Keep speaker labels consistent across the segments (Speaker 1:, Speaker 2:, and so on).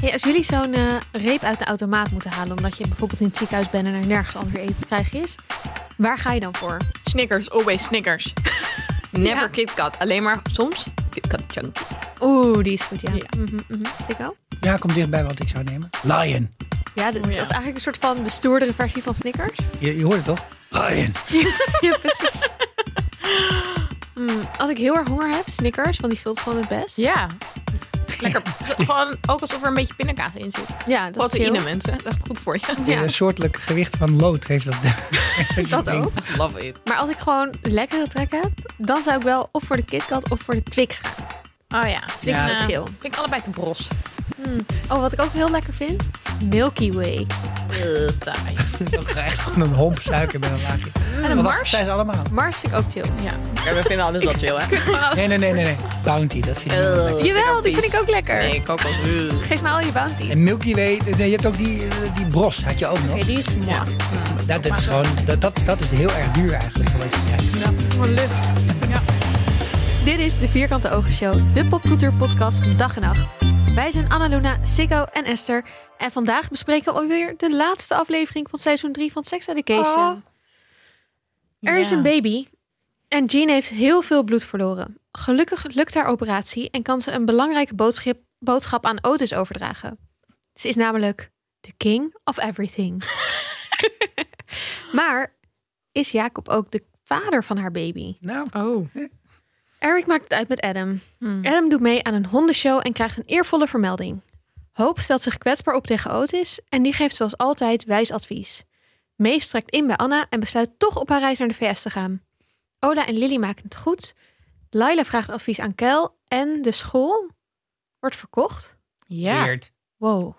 Speaker 1: Hey, als jullie zo'n eh, reep uit de automaat moeten halen, omdat je bijvoorbeeld in het ziekenhuis bent en er nergens anders eten te krijgen is, waar ga je dan voor?
Speaker 2: Snickers, always Snickers. Never
Speaker 1: Ja.
Speaker 2: KitKat. Alleen maar soms KitKat Chunky.
Speaker 1: Oeh, die is goed, ja.
Speaker 2: Ja.
Speaker 1: Mhm, mhm. Sikko?
Speaker 3: Ja, kom dichtbij wat ik zou nemen. Lion.
Speaker 1: Ja, dat, dat
Speaker 2: Oh, ja.
Speaker 1: is eigenlijk een soort van de stoerdere versie van Snickers.
Speaker 3: Je, je hoort het toch? Lion.
Speaker 1: ja, precies. Mm, als ik heel erg honger heb, Snickers, want die vult gewoon het best.
Speaker 2: Ja. Lekker. Gewoon ook alsof er een beetje pindakaas in zit.
Speaker 1: ja dat
Speaker 2: Proteïne
Speaker 1: is
Speaker 2: mensen. Dat is echt goed voor je.
Speaker 1: veel.
Speaker 3: Een
Speaker 1: Ja,
Speaker 3: soortelijk gewicht van lood heeft dat. heeft
Speaker 1: dat
Speaker 3: ding.
Speaker 1: ook.
Speaker 2: Love it.
Speaker 1: Maar als ik gewoon lekkere trek heb, dan zou ik wel of voor de KitKat of voor de Twix gaan.
Speaker 2: Oh ja. Twix
Speaker 3: Ja.
Speaker 2: eh,
Speaker 1: Chill.
Speaker 2: vind ik allebei te bros.
Speaker 1: Oh, wat ik ook heel lekker vind? Milky Way.
Speaker 2: Eh, saai.
Speaker 3: Dat is ook echt gewoon een homp suiker met een laagje.
Speaker 2: En een
Speaker 3: Maar wacht,
Speaker 2: mars?
Speaker 3: zijn ze allemaal?
Speaker 1: Mars vind ik ook chill.
Speaker 2: Ja. Oké, we vinden altijd dat chill, hè?
Speaker 3: Nee, nee, nee, nee. nee. Bounty, dat vind ik wel lekker.
Speaker 2: Eh,
Speaker 1: Jawel, die
Speaker 2: vies.
Speaker 1: vind ik ook lekker.
Speaker 2: Nee, ik ook als... eh.
Speaker 1: Geef mij al je bounty. Oké,
Speaker 3: En Milky Way, nee, je hebt ook die, eh, die bros, had je ook nog.
Speaker 1: die is mooi.
Speaker 2: Ja.
Speaker 3: Dat, dat is gewoon, dat, dat, dat is heel erg duur eigenlijk. voor wat je krijgt.
Speaker 2: Voor lucht.
Speaker 1: Dit is de Vierkante Ogen Show, de popcultuurpodcast van dag en nacht. Wij zijn Anna Luna, Siggo en Esther. En vandaag bespreken we alweer de laatste aflevering van seizoen 3 van Sex Education. Er is
Speaker 2: Ja.
Speaker 1: een baby en Jean heeft heel veel bloed verloren. Gelukkig lukt haar operatie en kan ze een belangrijke boodschap, boodschap aan Otis overdragen. Ze is namelijk de king of everything. maar is Jacob ook de vader van haar baby?
Speaker 3: Nou,
Speaker 2: Oh.
Speaker 1: Eric maakt het uit met Adam. Adam doet mee aan een hondenshow en krijgt een eervolle vermelding. Hope stelt zich kwetsbaar op tegen Otis en die geeft zoals altijd wijs advies. Mees trekt in bij Anna en besluit toch op haar reis naar de VS te gaan. Ola en Lily maken het goed. Laila vraagt advies aan Kel en de school wordt verkocht.
Speaker 2: Ja.
Speaker 3: weird.
Speaker 1: Wow.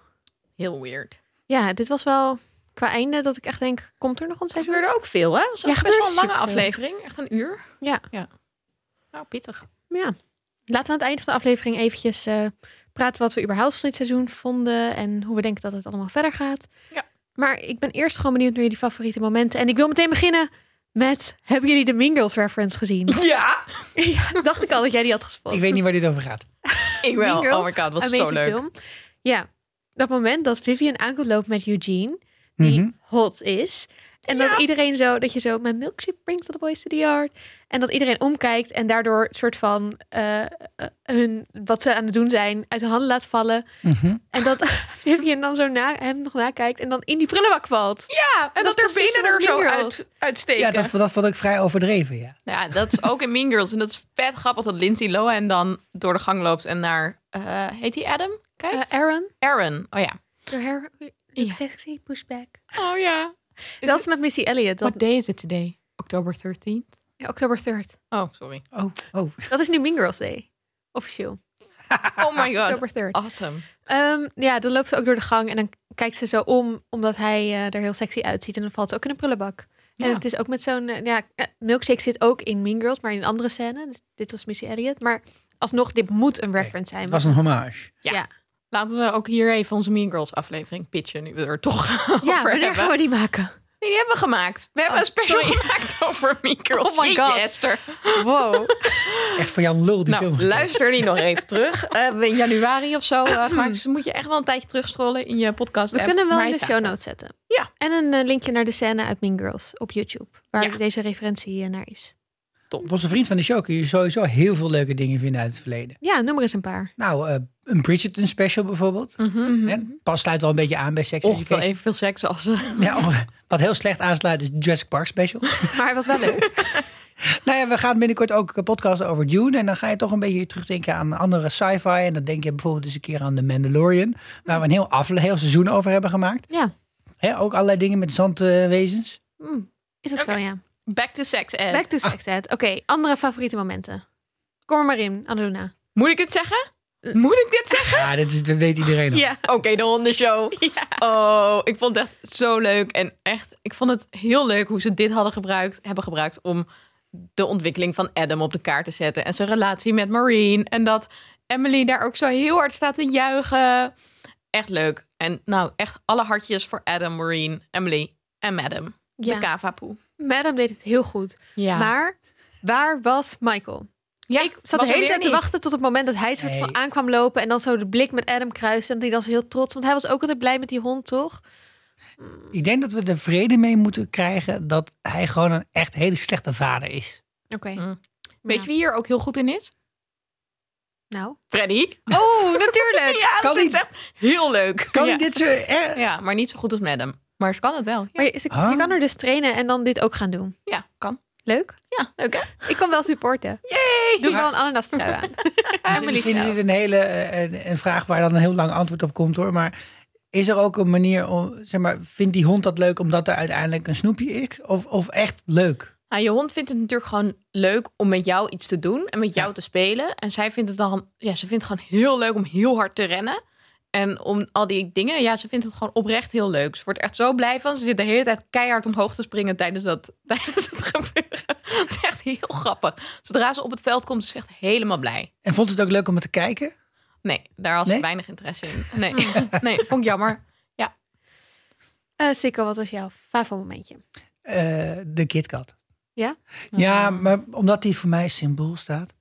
Speaker 2: Heel weird.
Speaker 1: Ja, dit was wel qua einde dat ik echt denk, komt er nog een
Speaker 2: Er
Speaker 1: seizoen?
Speaker 2: gebeurde ook veel, hè? Dat was
Speaker 1: Ja,
Speaker 2: ook best wel
Speaker 1: gebeurde
Speaker 2: een lange
Speaker 1: superveel.
Speaker 2: aflevering. Echt een uur.
Speaker 1: Ja.
Speaker 2: ja. Nou, pittig.
Speaker 1: Ja. Laten we aan het eind van de aflevering eventjes eh, praten wat we überhaupt van dit seizoen vonden en hoe we denken dat het allemaal verder gaat.
Speaker 2: Ja.
Speaker 1: Maar ik ben eerst gewoon benieuwd naar jullie favoriete momenten. En ik wil meteen beginnen met, hebben jullie de Mean Girls reference gezien?
Speaker 2: Ja!
Speaker 1: ja, dacht ik al dat jij die had gespot.
Speaker 3: Ik weet niet waar dit over gaat.
Speaker 2: Ik wel. Oh my god, was
Speaker 1: amazing
Speaker 2: zo leuk.
Speaker 1: Film. Ja, dat moment dat Vivian aankomt loopt met Eugene, die
Speaker 3: Mhm.
Speaker 1: hot is. En dat iedereen zo, dat je zo, mijn milkshake brings the boys to the yard. En dat iedereen omkijkt en daardoor soort van eh, eh, hun, wat ze aan het doen zijn, uit de handen laat vallen.
Speaker 3: Mhm.
Speaker 1: En dat Vivian dan zo na, hem nog nakijkt en dan in die prullenbak valt.
Speaker 2: Ja, en
Speaker 1: Dat
Speaker 2: dat,
Speaker 1: is
Speaker 2: er
Speaker 1: precies
Speaker 2: benen er
Speaker 1: zoals
Speaker 2: zo
Speaker 1: Mean Girls.
Speaker 2: uit, uitsteken.
Speaker 3: Ja, dat, dat vond ik vrij overdreven, ja.
Speaker 2: Ja, dat is ook in Mean Girls. En dat is vet grappig dat Lindsay Lohan dan door de gang loopt en naar... eh, heet die Adam? Kijk.
Speaker 1: Eh, Aaron,
Speaker 2: Aaron. Oh ja.
Speaker 1: your hair
Speaker 2: Ja.
Speaker 1: looks sexy, push back.
Speaker 2: Oh ja.
Speaker 1: dat is met Missy Elliott, dat,
Speaker 2: What day is it today? October 13th?
Speaker 1: ja, October 3rd.
Speaker 2: Oh, sorry.
Speaker 3: Oh, oh.
Speaker 1: Dat is nu Mean Girls Day, officieel.
Speaker 2: Oh my god.
Speaker 1: October 3rd.
Speaker 2: Awesome.
Speaker 1: Ehm, ja, dan loopt ze ook door de gang en dan kijkt ze zo om, omdat hij eh, er heel sexy uitziet. En dan valt ze ook in een prullenbak. En
Speaker 2: Ja.
Speaker 1: het is ook met zo'n, eh, ja, eh, Milkshake zit ook in Mean Girls, maar in een andere scène. Dus dit was Missy Elliott. Maar alsnog, dit moet een reference
Speaker 3: Het
Speaker 1: zijn.
Speaker 3: was een hommage.
Speaker 2: Ja.
Speaker 1: ja.
Speaker 2: Laten we ook hier even onze Mean Girls aflevering pitchen. Nu we er toch
Speaker 1: Ja,
Speaker 2: over
Speaker 1: wanneer
Speaker 2: hebben.
Speaker 1: gaan we die maken?
Speaker 2: Nee, die hebben we gemaakt. We hebben
Speaker 1: Oh,
Speaker 2: een special
Speaker 1: sorry.
Speaker 2: gemaakt over Mean Girls.
Speaker 1: Oh my
Speaker 2: Jeetje,
Speaker 1: god.
Speaker 2: Esther.
Speaker 1: Wow.
Speaker 3: Echt van Jan Lul, die
Speaker 2: nou,
Speaker 3: film.
Speaker 2: luister die nog even terug. Eh, we in januari of zo eh, gemaakt. Dus dan moet je echt wel een tijdje terugscrollen in je podcast
Speaker 1: We
Speaker 2: app.
Speaker 1: kunnen wel
Speaker 2: Maar
Speaker 1: in de
Speaker 2: hij
Speaker 1: show
Speaker 2: staat er.
Speaker 1: notes zetten.
Speaker 2: Ja.
Speaker 1: En een eh, linkje naar de scène uit Mean Girls op YouTube, waar
Speaker 2: Ja.
Speaker 1: deze referentie eh, naar is.
Speaker 3: Op onze vriend van de show kun je sowieso heel veel leuke dingen vinden uit het verleden.
Speaker 1: Ja, noem maar eens een paar.
Speaker 3: Nou, eh, een Bridgerton special bijvoorbeeld.
Speaker 2: Mhm.
Speaker 1: Mhm.
Speaker 3: Hè, Pas sluit wel een beetje aan bij Sex
Speaker 2: Ongeveer
Speaker 3: Education.
Speaker 2: evenveel seks als... eh,
Speaker 3: Ja, of- wat heel slecht aansluit is Jurassic Park special.
Speaker 1: Maar het was wel leuk.
Speaker 3: nou ja, we gaan binnenkort ook een podcast over Dune. En dan ga je toch een beetje terugdenken aan andere sci-fi. En dan denk je bijvoorbeeld eens een keer aan The Mandalorian. Waar we een heel, afle- heel seizoen over hebben gemaakt.
Speaker 1: Ja.
Speaker 3: Hè, ook allerlei dingen met zandwezens.
Speaker 1: Hm, Is ook
Speaker 2: Oké.
Speaker 1: zo, ja.
Speaker 2: Back to sex ed.
Speaker 1: Back to sex ed. Oké, andere favoriete momenten. Kom er maar in, Annalena.
Speaker 2: Moet ik het zeggen?
Speaker 1: Eh.
Speaker 2: Moet ik dit zeggen?
Speaker 3: ja, dit, is, dat weet iedereen al.
Speaker 1: Ja.
Speaker 2: Oké, de hondenshow. Oh, ik vond het echt zo leuk. En echt, ik vond het heel leuk hoe ze dit hadden gebruikt, hebben gebruikt om de ontwikkeling van Adam op de kaart te zetten. En zijn relatie met Maureen. En dat Emily daar ook zo heel hard staat te juichen. Echt leuk. En nou, echt alle hartjes voor Adam, Maureen, Emily en Madam.
Speaker 1: Ja.
Speaker 2: De kavapoe.
Speaker 1: Madam deed het heel goed.
Speaker 2: Ja.
Speaker 1: Maar waar was Michael?
Speaker 2: Ja,
Speaker 1: ik zat de
Speaker 2: was er
Speaker 1: hele
Speaker 2: weer
Speaker 1: tijd te
Speaker 2: niet.
Speaker 1: wachten tot het moment dat hij soort van
Speaker 3: Nee.
Speaker 1: aankwam lopen en dan zo de blik met Adam kruist en die dan zo heel trots, want hij was ook altijd blij met die hond, toch?
Speaker 3: Ik denk dat we er vrede mee moeten krijgen dat hij gewoon een echt hele slechte vader is.
Speaker 1: Oké.
Speaker 2: Mm. Weet
Speaker 1: Ja.
Speaker 2: je wie hier ook heel goed in is?
Speaker 1: Nou.
Speaker 2: Freddy.
Speaker 1: Oh, natuurlijk.
Speaker 2: Ja,
Speaker 3: Kan
Speaker 2: dat is
Speaker 3: die-
Speaker 2: echt heel leuk.
Speaker 3: Kan
Speaker 2: ja.
Speaker 3: ik dit zo... eh,
Speaker 2: Ja, maar niet zo goed als Madam. Maar ze kan het wel. Ja,
Speaker 1: Maar je, ze-
Speaker 3: Huh?
Speaker 1: je kan er dus trainen en dan dit ook gaan doen.
Speaker 2: ja kan.
Speaker 1: Leuk.
Speaker 2: Ja, leuk hè?
Speaker 1: Ik kan wel supporten.
Speaker 2: Yay!
Speaker 1: Doe wel een ananas trui aan.
Speaker 3: misschien- misschien is
Speaker 1: snel.
Speaker 3: dit een hele eh, een, een vraag waar dan een heel lang antwoord op komt hoor. Maar is er ook een manier om, zeg maar, vindt die hond dat leuk omdat er uiteindelijk een snoepje is? Of, of echt leuk?
Speaker 2: Nou, je hond vindt het natuurlijk gewoon leuk om met jou iets te doen en met jou te spelen. En zij vindt het dan, ja, ze vindt het gewoon heel leuk om heel hard te rennen. En om al die dingen, ja, ze vindt het gewoon oprecht heel leuk. Ze wordt er echt zo blij van. Ze zit de hele tijd keihard omhoog te springen tijdens, dat, tijdens het gebeuren. Het is echt heel grappig. Zodra ze op het veld komt, is ze echt helemaal blij.
Speaker 3: En vond ze het ook leuk om het te kijken?
Speaker 2: Nee, daar had ze
Speaker 3: Nee? Hmm.
Speaker 2: weinig interesse in. Nee, nee vond ik jammer.
Speaker 1: Eh Sikko, wat was jouw favoriet momentje?
Speaker 3: Eh, de KitKat.
Speaker 1: Ja?
Speaker 3: Ja, maar omdat die voor mij symbool staat.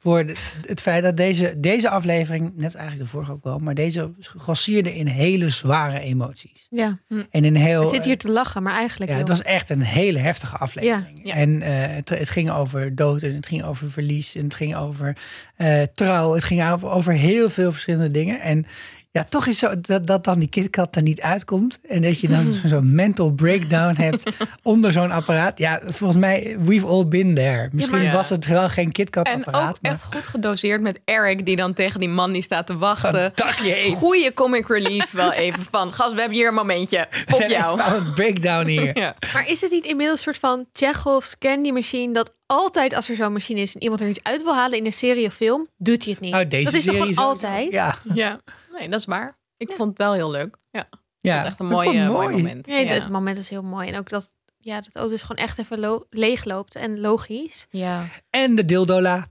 Speaker 3: Voor de- het feit dat deze, deze aflevering, net als eigenlijk de vorige ook wel, maar deze grossierde in hele zware emoties.
Speaker 1: Ja,
Speaker 3: En in heel.
Speaker 1: we zitten hier te lachen, maar
Speaker 3: eh,
Speaker 1: eigenlijk...
Speaker 3: ja, het
Speaker 1: joh.
Speaker 3: was echt een hele heftige aflevering.
Speaker 2: Ja, ja.
Speaker 3: En eh, het, het ging over dood en het ging over verlies en het ging over eh, trouw. Het ging over, over heel veel verschillende dingen. En ja, toch is zo dat, dat dan die KitKat er niet uitkomt. En dat je dan zo- zo'n mental breakdown hebt onder zo'n apparaat. Ja, volgens mij, we've all been there. Misschien
Speaker 2: maar-
Speaker 3: was het wel geen
Speaker 2: En
Speaker 3: KitKat-apparaat.
Speaker 2: ook
Speaker 3: maar
Speaker 2: echt goed gedoseerd met Eric, die dan tegen die man die staat te wachten.
Speaker 3: dagje even.
Speaker 2: goede comic relief wel even van. Gast, we hebben hier een momentje.
Speaker 3: We
Speaker 2: Op
Speaker 3: zijn
Speaker 2: jou.
Speaker 3: even aan het breakdown hier.
Speaker 2: Ja.
Speaker 1: Maar is het niet inmiddels een soort van Chekhov's candy machine... dat altijd als er zo'n machine is en iemand er iets uit wil halen in een serie of film... doet hij het niet.
Speaker 3: Nou, deze
Speaker 1: dat is toch
Speaker 3: serie
Speaker 1: gewoon
Speaker 3: sowieso.
Speaker 1: altijd?
Speaker 3: Ja,
Speaker 2: ja, nee, dat is waar. Ik vond het wel heel leuk. Ja,
Speaker 3: ja.
Speaker 2: dat is echt een
Speaker 3: Ik vond
Speaker 2: mooi,
Speaker 3: het
Speaker 2: eh, mooi
Speaker 3: mooi.
Speaker 2: moment.
Speaker 1: Nee,
Speaker 2: ja.
Speaker 1: het moment is heel mooi. En ook dat, ja, dat auto dus gewoon echt even lo- leeg loopt en logisch.
Speaker 2: ja.
Speaker 3: En de dildola.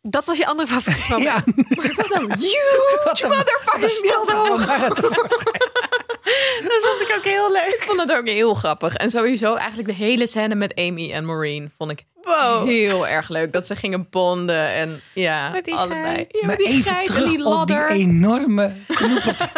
Speaker 1: Dat was je andere favoriet
Speaker 2: Oh,
Speaker 1: moment.
Speaker 3: Ja. Wat een
Speaker 2: Motherfucker, stil
Speaker 1: Dat vond ik ook heel leuk.
Speaker 2: Ik vond het ook heel grappig. En sowieso eigenlijk de hele scène met Amy en Maureen vond ik
Speaker 1: Wow.
Speaker 2: heel erg leuk. Dat ze gingen bonden en ja,
Speaker 1: Met die
Speaker 2: allebei.
Speaker 1: geit.
Speaker 2: Ja,
Speaker 3: Maar
Speaker 2: met die
Speaker 3: even
Speaker 2: geit en
Speaker 3: terug
Speaker 2: die
Speaker 3: op die
Speaker 2: ladder.
Speaker 3: enorme knoepert.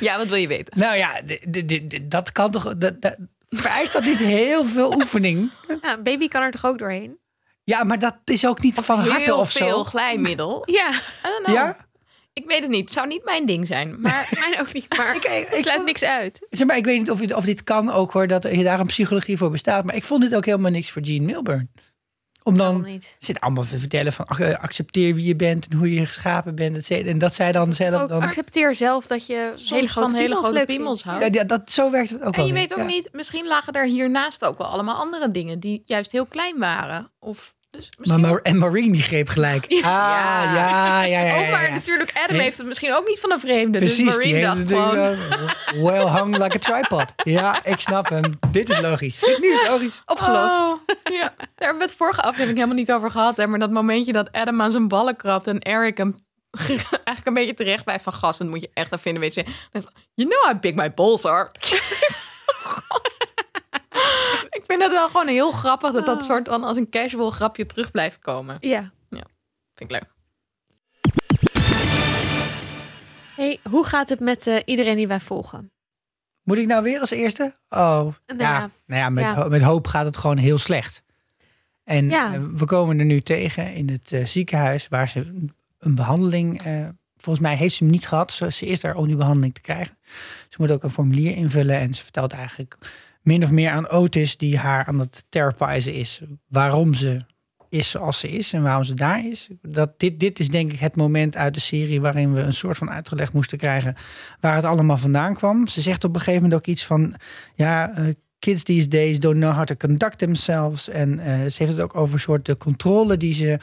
Speaker 2: Ja, wat wil je weten?
Speaker 3: nou ja, d- d- d- dat kan toch... Dat, dat, vereist dat niet heel veel oefening?
Speaker 1: Nou, baby kan er toch ook doorheen?
Speaker 3: Ja, maar dat is ook niet van harte
Speaker 2: heel
Speaker 3: Oh, of
Speaker 2: veel
Speaker 3: zo.
Speaker 2: glijmiddel. I
Speaker 1: Ja,
Speaker 2: don't know.
Speaker 3: Ja?
Speaker 2: Ik weet het niet. Het zou niet mijn ding zijn. Maar
Speaker 1: maar mijn ook niet. Maar
Speaker 3: Ik- ik-
Speaker 1: het sluit
Speaker 3: ik-
Speaker 1: niks uit.
Speaker 3: Zeg maar, ik weet niet of, dit- of dit kan ook hoor, dat er daar een psychologie voor bestaat. Maar ik vond dit ook helemaal niks voor Gene Milburn. Om
Speaker 1: Waarom
Speaker 3: dan
Speaker 1: niet?
Speaker 3: zit allemaal te vertellen van ach, eh, accepteer wie je bent en hoe je geschapen bent. et cetera. En dat zij dan zelf
Speaker 1: Ook
Speaker 3: dan...
Speaker 1: accepteer zelf dat je
Speaker 2: soms
Speaker 1: hele grote
Speaker 2: van hele
Speaker 1: piemels
Speaker 2: grote
Speaker 1: leuk
Speaker 2: piemels
Speaker 1: vindt.
Speaker 2: houdt.
Speaker 3: Ja, ja, dat, zo werkt het ook
Speaker 2: En
Speaker 3: wel
Speaker 2: je
Speaker 3: weer.
Speaker 2: weet ook
Speaker 3: Ja.
Speaker 2: niet, misschien lagen er hiernaast ook wel allemaal andere dingen die juist heel klein waren. Of dus
Speaker 3: Maar,
Speaker 2: misschien.
Speaker 3: Mar- en Maureen die greep gelijk. Ah, ja, ja, ja, ja.
Speaker 2: Oh, maar
Speaker 3: ja.
Speaker 2: natuurlijk, Adam
Speaker 3: Nee.
Speaker 2: heeft het misschien ook niet van een vreemde. dus
Speaker 3: Precies,
Speaker 2: Marine
Speaker 3: die heeft
Speaker 2: dacht
Speaker 3: het ding eh,
Speaker 2: gewoon,
Speaker 3: wel- well hung like a tripod. Ja, ik snap hem. Dit is logisch. Dit nu is logisch.
Speaker 1: Opgelost.
Speaker 2: Oh, ja. Daar hebben we het vorige aflevering helemaal niet over gehad. Hè? Maar dat momentje dat Adam aan zijn ballen krabt en Eric hem eigenlijk een beetje terecht bij van gast. Dat moet je echt aan vinden. Weet je, Dan van, you know how big my balls are. Gast. Ik vind dat wel gewoon heel grappig dat
Speaker 3: Ah.
Speaker 2: dat soort van als een casual grapje terug blijft komen.
Speaker 1: Ja.
Speaker 2: Vind ik leuk.
Speaker 1: Hey, hoe gaat het met eh, iedereen die wij volgen?
Speaker 3: Moet ik nou weer als eerste? Oh, ja.
Speaker 1: ja.
Speaker 3: Nou ja, met,
Speaker 1: Ja.
Speaker 3: ho- met hoop gaat het gewoon heel slecht. En
Speaker 1: Ja.
Speaker 3: eh, we komen er nu tegen in het eh, ziekenhuis waar ze een- een behandeling... eh, volgens mij heeft ze hem niet gehad. Ze, ze is daar om die behandeling te krijgen. Ze moet ook een formulier invullen en ze vertelt eigenlijk min of meer aan Otis die haar aan het therapizen is. Waarom ze is zoals ze is en waarom ze daar is. Dat dit, dit is denk ik het moment uit de serie waarin we een soort van uitgelegd moesten krijgen waar het allemaal vandaan kwam. Ze zegt op een gegeven moment ook iets van, ja, eh, kids these days don't know how to conduct themselves. En eh, ze heeft het ook over een soort de controle die ze,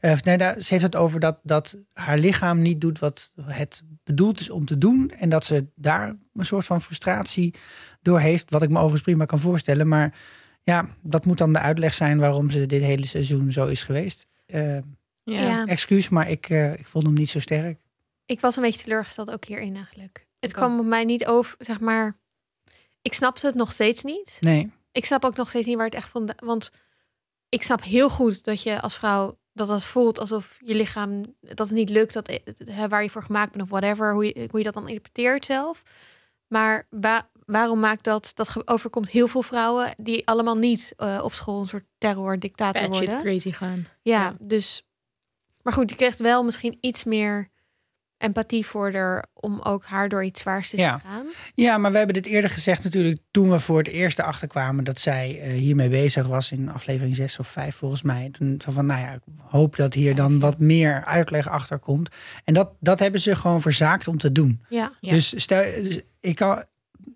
Speaker 3: eh, of nee, daar, ze heeft het over dat, dat haar lichaam niet doet wat het bedoeld is om te doen. En dat ze daar een soort van frustratie door heeft, wat ik me overigens prima kan voorstellen. Maar ja, dat moet dan de uitleg zijn waarom ze dit hele seizoen zo is geweest. Eh,
Speaker 1: Ja.
Speaker 3: excuus, maar ik, eh, ik vond hem niet zo sterk.
Speaker 1: Ik was een beetje teleurgesteld ook hierin eigenlijk. Het
Speaker 2: Ik
Speaker 1: kwam op mij niet over, zeg maar... Ik snapte het nog steeds niet.
Speaker 3: Nee.
Speaker 1: ik snap ook nog steeds niet waar het echt vandaan... Want ik snap heel goed dat je als vrouw dat dat voelt alsof je lichaam dat het niet lukt, dat, eh, hè, waar je voor gemaakt bent of whatever, hoe je, eh, hoe je dat dan interpreteert zelf. Maar wa- waarom maakt dat, dat ge- overkomt heel veel vrouwen die allemaal niet eh, op school een soort terror-dictator
Speaker 2: Bad shit
Speaker 1: worden.
Speaker 2: crazy gaan.
Speaker 1: Ja,
Speaker 2: Ja.
Speaker 1: dus. Maar goed, je krijgt wel misschien iets meer empathie voor haar om ook haar door iets zwaars te zien
Speaker 3: Ja.
Speaker 1: gaan.
Speaker 3: Ja, maar we hebben dit eerder gezegd natuurlijk toen we voor het eerst erachter kwamen dat zij eh, hiermee bezig was in aflevering 6 of 5 volgens mij. Toen van, van nou ja, ik hoop dat hier dan wat meer uitleg achter komt. En dat, dat hebben ze gewoon verzaakt om te doen.
Speaker 1: Ja.
Speaker 2: Ja.
Speaker 3: Dus, stel, dus ik kan,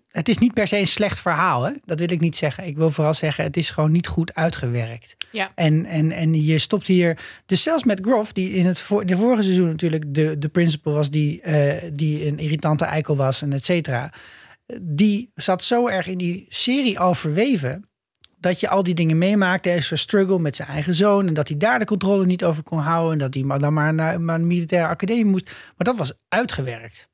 Speaker 3: het is niet per se een slecht verhaal, hè? dat wil ik niet zeggen. Ik wil vooral zeggen, het is gewoon niet goed uitgewerkt.
Speaker 2: Ja.
Speaker 3: En, en, en je stopt hier. Dus zelfs met Groff, die in het voor, de vorige seizoen natuurlijk de, de principal was, die, eh, die een irritante eikel was en et cetera. Die zat zo erg in die serie al verweven. Dat je al die dingen meemaakte. Er is een struggle met zijn eigen zoon. En dat hij daar de controle niet over kon houden. En dat hij maar dan maar naar, naar een militaire academie moest. Maar dat was uitgewerkt.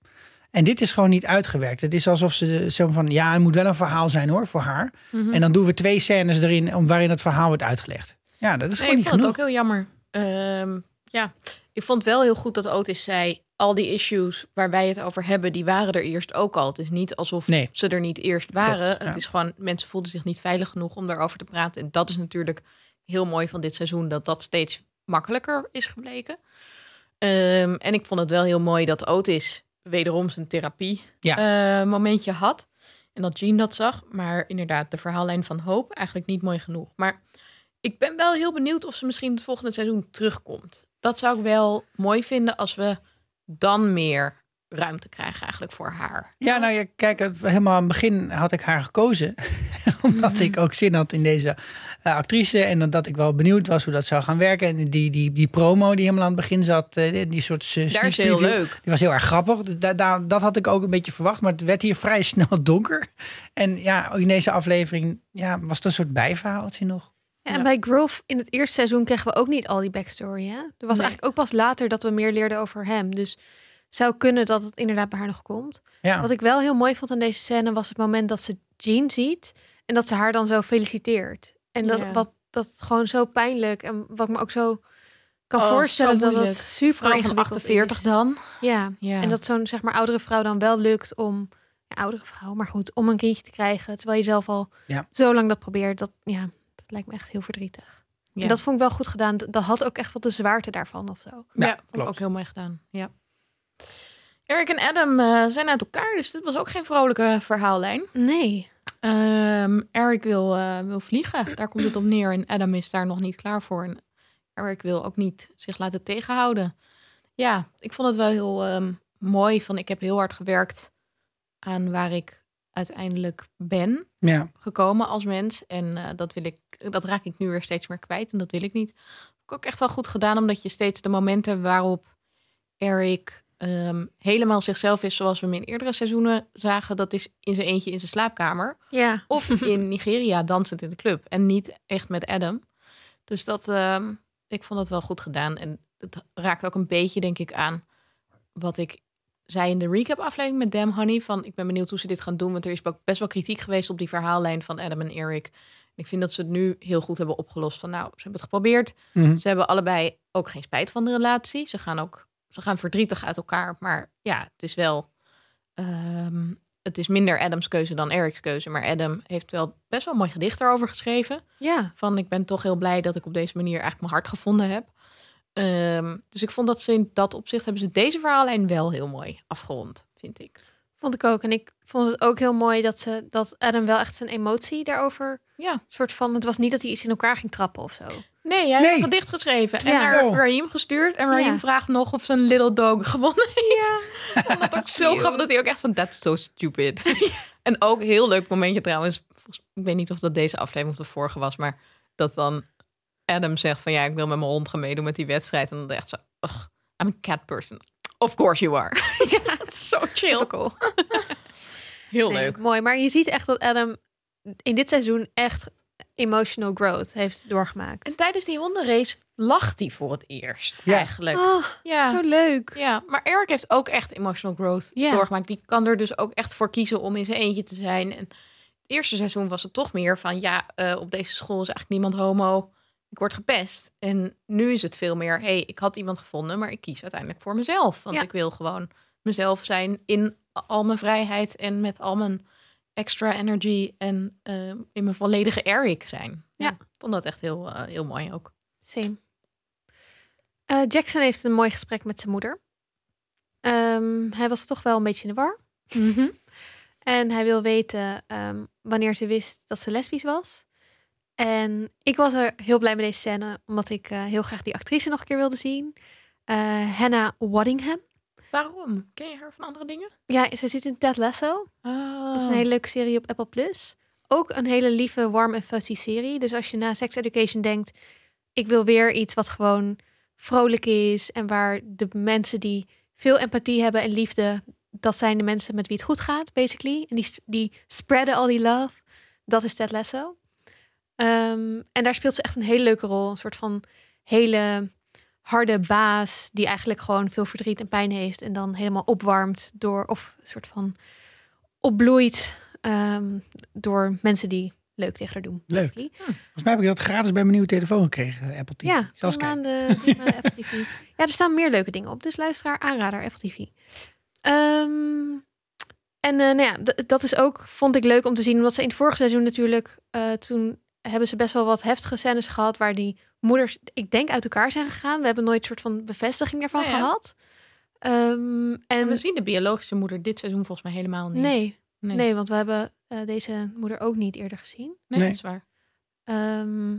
Speaker 3: En dit is gewoon niet uitgewerkt. Het is alsof ze zo van, ja, het moet wel een verhaal zijn hoor, voor haar.
Speaker 2: Mhm.
Speaker 3: En dan doen we twee scènes erin om waarin het verhaal wordt uitgelegd. Ja, dat is
Speaker 2: Nee,
Speaker 3: gewoon
Speaker 2: ik
Speaker 3: niet
Speaker 2: vond het ook
Speaker 3: genoeg.
Speaker 2: heel jammer. Ehm, ja, ik vond wel heel goed dat Otis zei... al die issues waar wij het over hebben, die waren er eerst ook al. Het is niet alsof
Speaker 3: Nee.
Speaker 2: ze er niet eerst waren.
Speaker 3: Klopt, ja.
Speaker 2: Het is gewoon, mensen voelden zich niet veilig genoeg om daarover te praten. En dat is natuurlijk heel mooi van dit seizoen... dat dat steeds makkelijker is gebleken. Ehm, en ik vond het wel heel mooi dat Otis wederom zijn therapie eh, momentje had. En dat Jean dat zag. Maar inderdaad, de verhaallijn van hoop eigenlijk niet mooi genoeg. Maar ik ben wel heel benieuwd of ze misschien het volgende seizoen terugkomt. Dat zou ik wel mooi vinden als we dan meer ruimte krijgen eigenlijk voor haar.
Speaker 3: Ja, nou ja, kijk, het- helemaal aan het begin had ik haar gekozen. Omdat ik ook zin had in deze eh, actrice. En omdat ik wel benieuwd was hoe dat zou gaan werken. En die, die, die promo die helemaal aan het begin zat, eh, die- die soort eh, sneak
Speaker 2: Daar is heel
Speaker 3: preview,
Speaker 2: leuk.
Speaker 3: Die was heel erg grappig. Da- da- dat had ik ook een beetje verwacht. Maar het werd hier vrij snel donker. En ja, ook in deze aflevering ja, was het een soort bijverhaaltje nog.
Speaker 1: Ja, En
Speaker 2: Ja.
Speaker 1: bij Grove in het eerste seizoen kregen we ook niet al die backstory. Hè? Er was
Speaker 2: Nee.
Speaker 1: eigenlijk ook pas later dat we meer leerden over hem. Dus het zou kunnen dat het inderdaad bij haar nog komt.
Speaker 3: Ja.
Speaker 1: Wat ik wel heel mooi vond aan deze scène was het moment dat ze Jean ziet en dat ze haar dan zo feliciteert. En dat,
Speaker 2: Ja.
Speaker 1: wat, dat gewoon zo pijnlijk en wat ik me ook zo kan
Speaker 2: Oh,
Speaker 1: voorstellen
Speaker 2: zo
Speaker 1: dat dat
Speaker 2: moeilijk.
Speaker 1: super
Speaker 2: Vrouw van
Speaker 1: ingewikkeld
Speaker 2: 48
Speaker 1: is.
Speaker 2: dan.
Speaker 1: Ja.
Speaker 2: Ja.
Speaker 1: En dat zo'n zeg maar oudere vrouw dan wel lukt om ja, oudere vrouw, maar goed, om een kindje te krijgen, terwijl je zelf al
Speaker 3: Ja.
Speaker 1: zo lang dat probeert, dat ja, dat lijkt me echt heel verdrietig.
Speaker 2: Ja.
Speaker 1: En dat vond ik wel goed gedaan. Dat dat had ook echt wat de zwaarte daarvan of zo.
Speaker 2: Ja,
Speaker 3: Ja,
Speaker 2: vond ik
Speaker 3: klopt.
Speaker 2: ook heel mooi gedaan. Ja. Eric en Adam eh, zijn uit elkaar, dus dit was ook geen vrolijke verhaallijn.
Speaker 1: Nee.
Speaker 2: Ehm, Eric wil, eh, wil vliegen, daar komt het op neer. En Adam is daar nog niet klaar voor. En Eric wil ook niet zich laten tegenhouden. Ja, ik vond het wel heel ehm, mooi. Van, ik heb heel hard gewerkt aan waar ik uiteindelijk ben
Speaker 3: Ja.
Speaker 2: gekomen als mens. En eh, dat, wil ik, dat raak ik nu weer steeds meer kwijt. En dat wil ik niet. Heb ik ook echt wel goed gedaan, omdat je steeds de momenten waarop Eric ehm, helemaal zichzelf is, zoals we hem in eerdere seizoenen zagen, dat is in zijn eentje in zijn slaapkamer.
Speaker 1: Ja.
Speaker 2: Of in Nigeria dansend in de club. En niet echt met Adam. Dus dat, ehm, ik vond dat wel goed gedaan. En het raakt ook een beetje, denk ik, aan wat ik zei in de recap-aflevering met Dam Honey. Van ik ben benieuwd hoe ze dit gaan doen. Want er is ook best wel kritiek geweest op die verhaallijn van Adam en Eric. En ik vind dat ze het nu heel goed hebben opgelost. Van nou, ze hebben het geprobeerd.
Speaker 3: Mhm.
Speaker 2: Ze hebben allebei ook geen spijt van de relatie. Ze gaan ook ze gaan verdrietig uit elkaar. Maar ja, het is wel. ehm, het is minder Adams keuze dan Eric's keuze. Maar Adam heeft wel best wel een mooi gedicht daarover geschreven.
Speaker 1: Ja.
Speaker 2: Van ik ben toch heel blij dat ik op deze manier eigenlijk mijn hart gevonden heb. Ehm, dus ik vond dat ze in dat opzicht hebben ze deze verhaallijn wel heel mooi afgerond, vind ik.
Speaker 1: Vond ik ook. En ik vond het ook heel mooi dat ze dat Adam wel echt zijn emotie daarover
Speaker 2: Ja.
Speaker 1: soort van. Het was niet dat hij iets in elkaar ging trappen of zo.
Speaker 2: Nee, hij heeft
Speaker 3: Nee.
Speaker 2: een gedicht geschreven en
Speaker 1: Ja.
Speaker 2: naar
Speaker 3: Oh.
Speaker 2: Raheem gestuurd. En Raheem
Speaker 1: Ja.
Speaker 2: vraagt nog of zijn Little Dog gewonnen heeft. Ja. Dat ook zo
Speaker 1: Cute.
Speaker 2: grappig dat hij ook echt van, that's so stupid. En ook een heel leuk momentje trouwens. volgens- Ik weet niet of dat deze aflevering of de vorige was, maar dat dan Adam zegt van, ja, ik wil met mijn hond gaan meedoen met die wedstrijd. En dan echt zo, ugh, I'm a cat person. Of course you are. ja, het is zo chill.
Speaker 1: Typical.
Speaker 2: Heel
Speaker 1: Nee,
Speaker 2: leuk.
Speaker 1: Mooi. Maar je ziet echt dat Adam in dit seizoen echt emotional growth heeft doorgemaakt.
Speaker 2: En tijdens die hondenrace lacht hij voor het eerst
Speaker 3: Ja.
Speaker 2: eigenlijk.
Speaker 1: Oh,
Speaker 2: ja.
Speaker 1: zo leuk.
Speaker 2: Ja, maar Eric heeft ook echt emotional growth
Speaker 1: Ja.
Speaker 2: doorgemaakt. Die kan er dus ook echt voor kiezen om in zijn eentje te zijn. En het eerste seizoen was het toch meer van... ja, eh, op deze school is eigenlijk niemand homo. ik word gepest. En nu is het veel meer, hey, ik had iemand gevonden, maar ik kies uiteindelijk voor mezelf. Want
Speaker 1: Ja.
Speaker 2: ik wil gewoon mezelf zijn in al mijn vrijheid en met al mijn extra energy en eh, in mijn volledige Eric zijn.
Speaker 1: Ja.
Speaker 2: ik vond dat echt heel, eh, heel mooi ook.
Speaker 1: Same. Eh, Jackson heeft een mooi gesprek met zijn moeder. Ehm, hij was toch wel een beetje in de war. En hij wil weten ehm, wanneer ze wist dat ze lesbisch was. En ik was er heel blij met deze scène, omdat ik eh, heel graag die actrice nog een keer wilde zien. Eh, Hannah Waddingham.
Speaker 2: Waarom? Ken je haar van andere dingen?
Speaker 1: Ja, zij zit in Ted Lasso. Dat is een
Speaker 2: Oh.
Speaker 1: hele leuke serie op Apple Plus. Ook een hele lieve, warm en fuzzy serie. Dus als je na Sex Education denkt, ik wil weer iets wat gewoon vrolijk is en waar de mensen die veel empathie hebben en liefde, dat zijn de mensen met wie het goed gaat, basically. En die, die spreaden al die love. Dat is Ted Lasso. Ehm, en daar speelt ze echt een hele leuke rol. Een soort van hele harde baas die eigenlijk gewoon veel verdriet en pijn heeft en dan helemaal opwarmt door of een soort van opbloeit ehm, door mensen die leuk tegen haar doen.
Speaker 3: Leuk.
Speaker 1: basically.
Speaker 3: Volgens mij heb ik dat gratis bij mijn nieuwe telefoon gekregen, eh, Apple TV.
Speaker 1: Ja,
Speaker 3: Zelfs
Speaker 1: drie maanden, drie maanden Apple TV. Ja, er staan meer leuke dingen op. Dus luisteraar, aanrader, Apple TV. Ehm, en eh, nou ja, d- dat is ook, vond ik leuk om te zien. Omdat ze in het vorige seizoen natuurlijk, eh, toen hebben ze best wel wat heftige scènes gehad. Waar die moeders, ik denk, uit elkaar zijn gegaan. We hebben nooit een soort van bevestiging daarvan
Speaker 2: Oh ja.
Speaker 1: gehad. Ehm,
Speaker 2: En we
Speaker 1: en
Speaker 2: zien de biologische moeder dit seizoen volgens mij helemaal niet.
Speaker 1: nee,
Speaker 2: nee.
Speaker 1: nee. want we hebben eh, deze moeder ook niet eerder gezien.
Speaker 2: Nee,
Speaker 3: Nee.
Speaker 2: dat is waar.
Speaker 1: Ehm,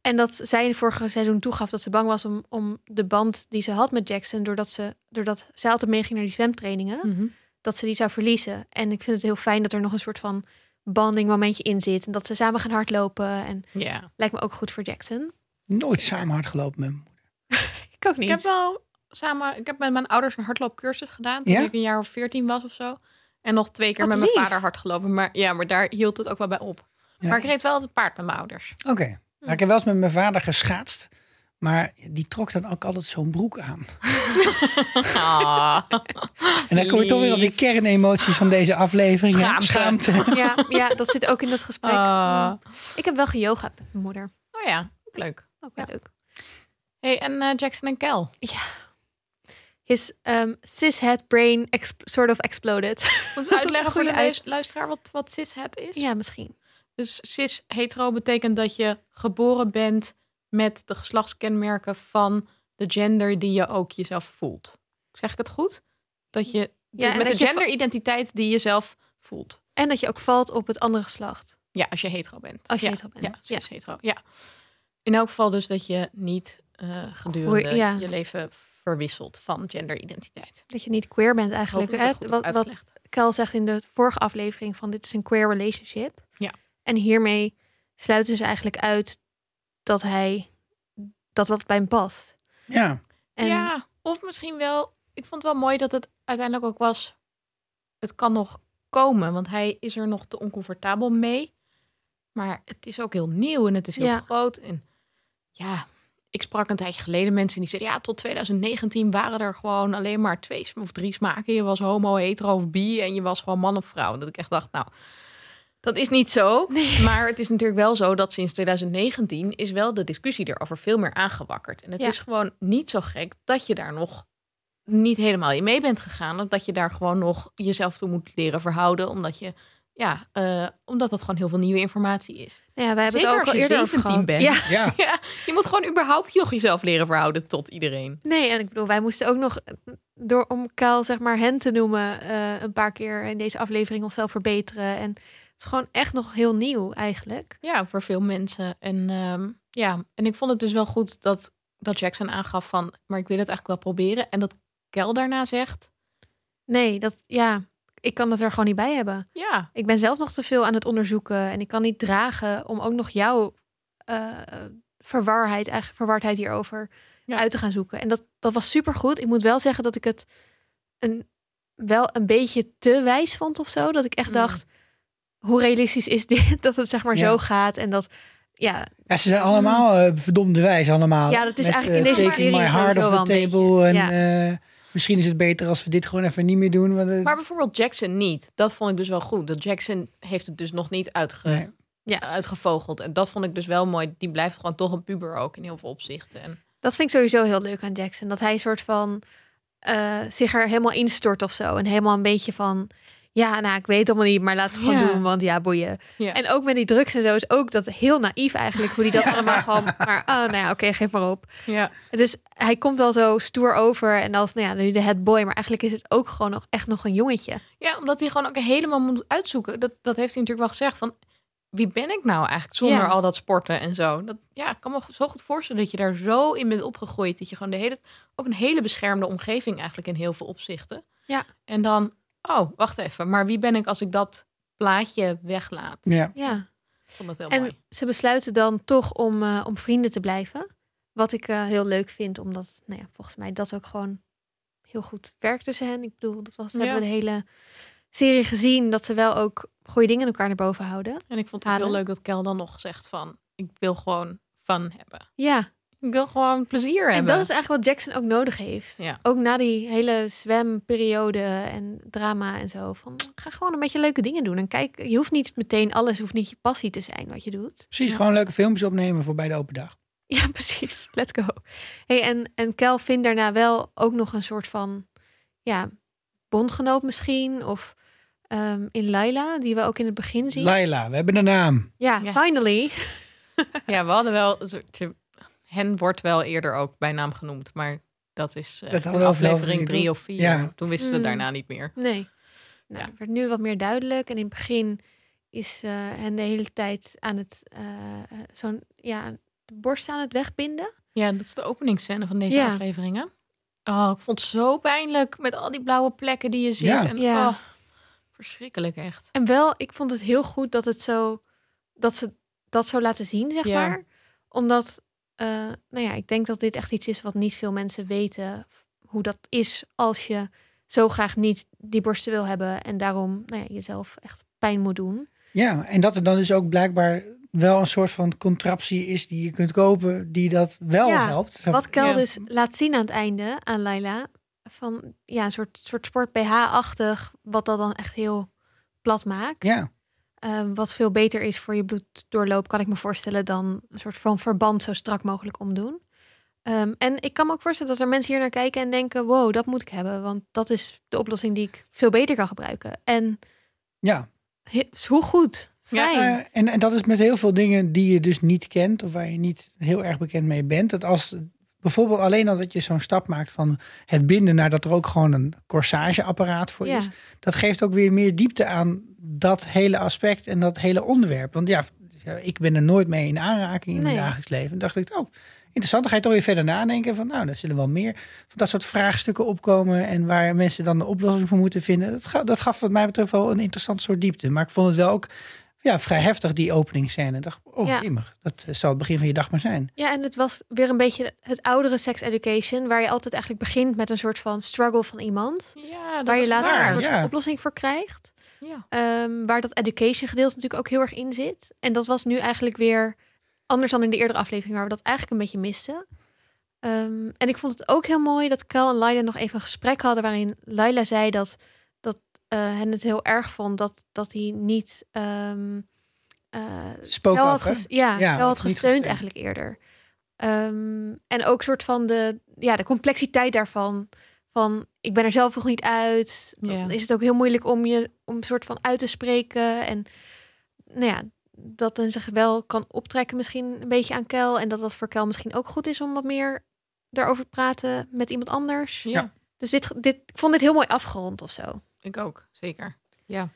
Speaker 1: en dat zij in het vorige seizoen toegaf dat ze bang was om, om de band die ze had met Jackson, doordat, ze, doordat zij altijd meeging naar die zwemtrainingen,
Speaker 2: Mhm.
Speaker 1: dat ze die zou verliezen. En ik vind het heel fijn dat er nog een soort van banding momentje in zit. En dat ze samen gaan hardlopen. En
Speaker 2: Ja.
Speaker 1: lijkt me ook goed voor Jackson.
Speaker 3: Nooit samen hard gelopen met mijn moeder.
Speaker 1: Ik ook niet.
Speaker 2: Ik heb wel samen, ik heb met mijn ouders een hardloopcursus gedaan toen
Speaker 3: Ja?
Speaker 2: ik een jaar of veertien was of zo. En nog twee keer
Speaker 1: Wat
Speaker 2: met
Speaker 1: lief.
Speaker 2: mijn vader hard gelopen. Maar ja, maar daar hield het ook wel bij op.
Speaker 3: Ja.
Speaker 2: Maar ik reed wel altijd paard met mijn ouders.
Speaker 3: Oké.
Speaker 1: Hm.
Speaker 3: Nou, ik heb wel eens met mijn vader geschaatst. Maar die trok dan ook altijd zo'n broek aan.
Speaker 2: Ah.
Speaker 3: En dan kom je toch weer op die kernemoties van deze aflevering. hè?
Speaker 2: Schaamte.
Speaker 1: Ja, ja, dat zit ook in dat gesprek. Mm.
Speaker 2: Ah.
Speaker 1: Ik heb wel geyoga met mijn moeder.
Speaker 2: Oh ja, ook leuk.
Speaker 1: Ook wel leuk.
Speaker 2: Hey, en eh, Jackson en Kel.
Speaker 1: His ehm cishead brain exp- sort of exploded.
Speaker 2: Moeten we
Speaker 1: een
Speaker 2: uitleggen voor de
Speaker 1: goede uit-
Speaker 2: luis- luisteraar wat, wat cishet is?
Speaker 1: ja, misschien.
Speaker 2: Dus cis hetero betekent dat je geboren bent met de geslachtskenmerken van de gender die je ook jezelf voelt. Zeg ik het goed? Dat je
Speaker 1: Ja, en dat
Speaker 2: met de
Speaker 1: je va-
Speaker 2: genderidentiteit die je zelf voelt.
Speaker 1: En dat je ook valt op het andere geslacht.
Speaker 2: Ja, als je hetero bent.
Speaker 1: Als je
Speaker 2: ja.
Speaker 1: hetero bent.
Speaker 2: Ja,
Speaker 1: Ja.
Speaker 2: cis hetero. Ja. In elk geval dus dat je niet eh, gedurende
Speaker 1: Hoi, ja.
Speaker 2: je leven verwisselt van genderidentiteit.
Speaker 1: Dat je niet queer bent eigenlijk.
Speaker 2: Hopelijk
Speaker 1: hè?
Speaker 2: goed
Speaker 1: Wat, wat
Speaker 2: uitgelegd.
Speaker 1: Kel zegt in de vorige aflevering van dit is een queer relationship.
Speaker 2: Ja.
Speaker 1: En hiermee sluiten ze eigenlijk uit dat hij dat wat bij hem past.
Speaker 3: Ja.
Speaker 1: En
Speaker 2: Ja, of misschien wel. Ik vond het wel mooi dat het uiteindelijk ook was. Het kan nog komen, want hij is er nog te oncomfortabel mee. Maar het is ook heel nieuw en het is heel
Speaker 1: Ja.
Speaker 2: groot. En ja, ik sprak een tijdje geleden mensen die zeiden: ja, tot 2019 waren er gewoon alleen maar twee sm- of drie smaken. Je was homo, hetero of bi en je was gewoon man of vrouw. En dat ik echt dacht: nou, dat is niet zo. Maar het is natuurlijk wel zo dat sinds 2019 is wel de discussie erover veel meer aangewakkerd. En het
Speaker 1: Ja.
Speaker 2: is gewoon niet zo gek dat je daar nog niet helemaal in mee bent gegaan. Of dat je daar gewoon nog jezelf toe moet leren verhouden. Omdat je, ja, eh, omdat dat gewoon heel veel nieuwe informatie is.
Speaker 1: nou ja, wij hebben het
Speaker 2: Zeker
Speaker 1: ook
Speaker 2: als
Speaker 1: al
Speaker 2: je
Speaker 1: eerder over
Speaker 2: 17
Speaker 1: gehad.
Speaker 2: bent.
Speaker 1: Ja,
Speaker 3: Ja.
Speaker 2: Ja, je moet gewoon überhaupt nog jezelf leren verhouden tot iedereen.
Speaker 1: nee, en ik bedoel, wij moesten ook nog eh, door om Kel zeg maar hen te noemen eh, een paar keer in deze aflevering onszelf verbeteren. En het is gewoon echt nog heel nieuw eigenlijk.
Speaker 2: Ja, voor veel mensen. En ehm, ja, en ik vond het dus wel goed dat, dat Jackson aangaf van, maar ik wil het eigenlijk wel proberen. En dat Kel daarna zegt,
Speaker 1: Nee, dat ja, ik kan het er gewoon niet bij hebben.
Speaker 2: ja,
Speaker 1: Ik ben zelf nog te veel aan het onderzoeken en ik kan niet dragen om ook nog jouw eh, verwarheid, eigenlijk verwardheid hierover
Speaker 2: Ja.
Speaker 1: uit te gaan zoeken. En dat, dat was supergoed. Ik moet wel zeggen dat ik het een, wel een beetje te wijs vond of zo. Dat ik echt
Speaker 2: Mm.
Speaker 1: dacht, hoe realistisch is dit? Dat het zeg maar
Speaker 3: Ja.
Speaker 1: zo gaat en dat, ja,
Speaker 3: Ja, ze zijn allemaal eh, verdomde wijs allemaal.
Speaker 1: Hm. Ja, dat is
Speaker 3: Met,
Speaker 1: eigenlijk in
Speaker 3: eh,
Speaker 1: deze
Speaker 3: taking my
Speaker 1: serie
Speaker 3: heart
Speaker 1: sowieso
Speaker 3: off the
Speaker 1: wel een
Speaker 3: table. En,
Speaker 1: beetje.
Speaker 3: eh, misschien is het beter als we dit gewoon even niet meer doen. Want, eh,
Speaker 2: Maar bijvoorbeeld Jackson niet. Dat vond ik dus wel goed. Dat Jackson heeft het dus nog niet uitge...
Speaker 3: nee.
Speaker 1: Ja.
Speaker 2: uitgevogeld. En dat vond ik dus wel mooi. Die blijft gewoon toch een puber ook in heel veel opzichten. En
Speaker 1: Dat vind ik sowieso heel leuk aan Jackson. Dat hij een soort van eh, zich er helemaal instort of zo. En helemaal een beetje van... Ja, nou, ik weet het allemaal niet, maar laat het gewoon
Speaker 2: Ja.
Speaker 1: doen, want ja, boeien.
Speaker 2: Ja.
Speaker 1: En ook met die drugs en zo is ook dat heel naïef eigenlijk, hoe die dat allemaal gewoon... Maar, ah, nou ja, oké, geef maar op.
Speaker 2: ja.
Speaker 1: Het is, hij komt wel zo stoer over en als, nou ja, nu de het boy. Maar eigenlijk is het ook gewoon nog echt nog een jongetje.
Speaker 2: ja, omdat hij gewoon ook helemaal moet uitzoeken. Dat, dat heeft hij natuurlijk wel gezegd. Van wie ben ik nou eigenlijk zonder
Speaker 1: Ja.
Speaker 2: al dat sporten en zo. Dat, ja, ik kan me zo goed voorstellen dat je daar zo in bent opgegroeid. Dat je gewoon de hele, ook een hele beschermde omgeving eigenlijk in heel veel opzichten.
Speaker 1: Ja.
Speaker 2: En dan, oh, wacht even. Maar wie ben ik als ik dat plaatje weglaat?
Speaker 3: Ja.
Speaker 1: Ja.
Speaker 2: Ik vond dat heel
Speaker 1: En
Speaker 2: mooi.
Speaker 1: ze besluiten dan toch om, eh, om vrienden te blijven. Wat ik eh, heel leuk vind, omdat nou ja, volgens mij dat ook gewoon heel goed werkt tussen hen. Ik bedoel, dat was,
Speaker 2: Ja.
Speaker 1: hebben we de hele serie gezien, dat ze wel ook goede dingen elkaar naar boven houden.
Speaker 2: En ik vond het heel
Speaker 1: Halen.
Speaker 2: leuk dat Kel dan nog zegt van... ik wil gewoon fun hebben.
Speaker 1: Ja,
Speaker 2: Ik wil gewoon plezier
Speaker 1: en
Speaker 2: hebben.
Speaker 1: dat is eigenlijk wat Jackson ook nodig heeft.
Speaker 2: Ja.
Speaker 1: Ook na die hele zwemperiode en drama en zo. Van, ga gewoon een beetje leuke dingen doen. En kijk, je hoeft niet meteen alles, hoeft niet je passie te zijn wat je doet.
Speaker 3: Precies,
Speaker 2: Ja.
Speaker 3: gewoon leuke filmpjes opnemen voor bij de open dag.
Speaker 1: Ja, precies. Let's go. Hey, en, en Kel vindt daarna wel ook nog een soort van ja, bondgenoot misschien. Of ehm, in Laila, die we ook in het begin zien.
Speaker 3: Laila, we hebben een naam.
Speaker 1: ja,
Speaker 2: Ja.
Speaker 1: finally.
Speaker 2: Ja, we hadden wel... een soortje- Hen wordt wel eerder ook bij naam genoemd, maar... Dat is eh,
Speaker 3: Dat hadden we over de
Speaker 2: aflevering
Speaker 3: overzien,
Speaker 2: drie
Speaker 3: toch?
Speaker 2: of vier.
Speaker 3: Ja.
Speaker 2: Toen wisten we
Speaker 1: Mm.
Speaker 2: daarna niet meer.
Speaker 1: Nee. Nou,
Speaker 2: Ja.
Speaker 1: het werd nu wat meer duidelijk. En in het begin is eh hen de hele tijd aan het eh, eh, zo'n ja, de borst aan het wegbinden.
Speaker 2: Ja, dat is de openingsscène van deze
Speaker 1: Ja.
Speaker 2: afleveringen. Oh, ik vond het zo pijnlijk met al die blauwe plekken die je ziet.
Speaker 3: Ja.
Speaker 2: En,
Speaker 1: Ja.
Speaker 2: oh, verschrikkelijk echt.
Speaker 1: En wel, ik vond het heel goed dat het zo dat ze dat zo laten zien, zeg
Speaker 2: Ja.
Speaker 1: maar. Omdat, eh, nou ja, ik denk dat dit echt iets is wat niet veel mensen weten hoe dat is als je zo graag niet die borsten wil hebben en daarom nou ja, jezelf echt pijn moet doen.
Speaker 3: Ja, en dat er dan dus ook blijkbaar wel een soort van contraptie is die je kunt kopen die dat wel
Speaker 1: Ja,
Speaker 3: helpt. Zo-
Speaker 1: Wat Kel
Speaker 2: Ja.
Speaker 1: dus laat zien aan het einde aan Laila van ja, een soort, soort sport PH-achtig, wat dat dan echt heel plat maakt.
Speaker 3: Ja,
Speaker 1: Ehm, wat veel beter is voor je bloeddoorloop, kan ik me voorstellen, dan een soort van verband zo strak mogelijk omdoen. Ehm, en ik kan me ook voorstellen dat er mensen hier naar kijken en denken: wow, dat moet ik hebben, want dat is de oplossing die ik veel beter kan gebruiken. En
Speaker 3: ja.
Speaker 1: he- hoe goed.
Speaker 2: Ja,
Speaker 1: Fijn.
Speaker 3: Eh, en, en dat is met heel veel dingen die je dus niet kent of waar je niet heel erg bekend mee bent. Dat als bijvoorbeeld alleen al dat je zo'n stap maakt van het binden naar dat er ook gewoon een corsageapparaat voor
Speaker 1: ja.
Speaker 3: is. dat geeft ook weer meer diepte aan dat hele aspect en dat hele onderwerp. Want ja, ja, ik ben er nooit mee in aanraking in
Speaker 1: Nee.
Speaker 3: mijn dagelijks leven. En dacht ik, oh, interessant. Dan ga je toch weer verder nadenken van, nou, daar zullen wel meer van dat soort vraagstukken opkomen en waar mensen dan de oplossing voor moeten vinden. Dat, ga- dat gaf wat mij betreft wel een interessant soort diepte. Maar ik vond het wel ook ja, vrij heftig, die openingsscène. Ik dacht, oh,
Speaker 1: Ja.
Speaker 3: immer, dat zal het begin van je dag maar zijn.
Speaker 1: ja, en het was weer een beetje het oudere sex education, waar je altijd eigenlijk begint met een soort van struggle van iemand,
Speaker 2: Ja, dat
Speaker 1: waar je
Speaker 2: is
Speaker 1: later
Speaker 2: waar.
Speaker 1: een soort
Speaker 3: ja.
Speaker 1: oplossing voor krijgt.
Speaker 2: Ja.
Speaker 1: Ehm, waar dat education gedeelte natuurlijk ook heel erg in zit. En dat was nu eigenlijk weer anders dan in de eerdere aflevering, waar we dat eigenlijk een beetje misten. Ehm, en ik vond het ook heel mooi dat Kel en Laila nog even een gesprek hadden waarin Laila zei dat, dat eh, hen het heel erg vond dat, dat hij niet. ehm eh,
Speaker 3: Spook
Speaker 1: Kel
Speaker 3: af,
Speaker 1: had
Speaker 3: hè?
Speaker 1: ges- ja,
Speaker 3: Ja,
Speaker 1: Kel
Speaker 3: had
Speaker 1: had gesteund,
Speaker 3: niet gesteund.
Speaker 1: eigenlijk eerder. Ehm, en ook soort van de, ja, de complexiteit daarvan. Van ik ben er zelf nog niet uit. Dan
Speaker 2: Ja.
Speaker 1: is het ook heel moeilijk om je om een soort van uit te spreken. En nou ja, dat een zich wel kan optrekken misschien een beetje aan Kel. En dat dat voor Kel misschien ook goed is om wat meer daarover te praten met iemand anders.
Speaker 2: Ja.
Speaker 1: Dus dit, dit, ik vond dit heel mooi afgerond of zo.
Speaker 2: Ik ook, zeker. Ja.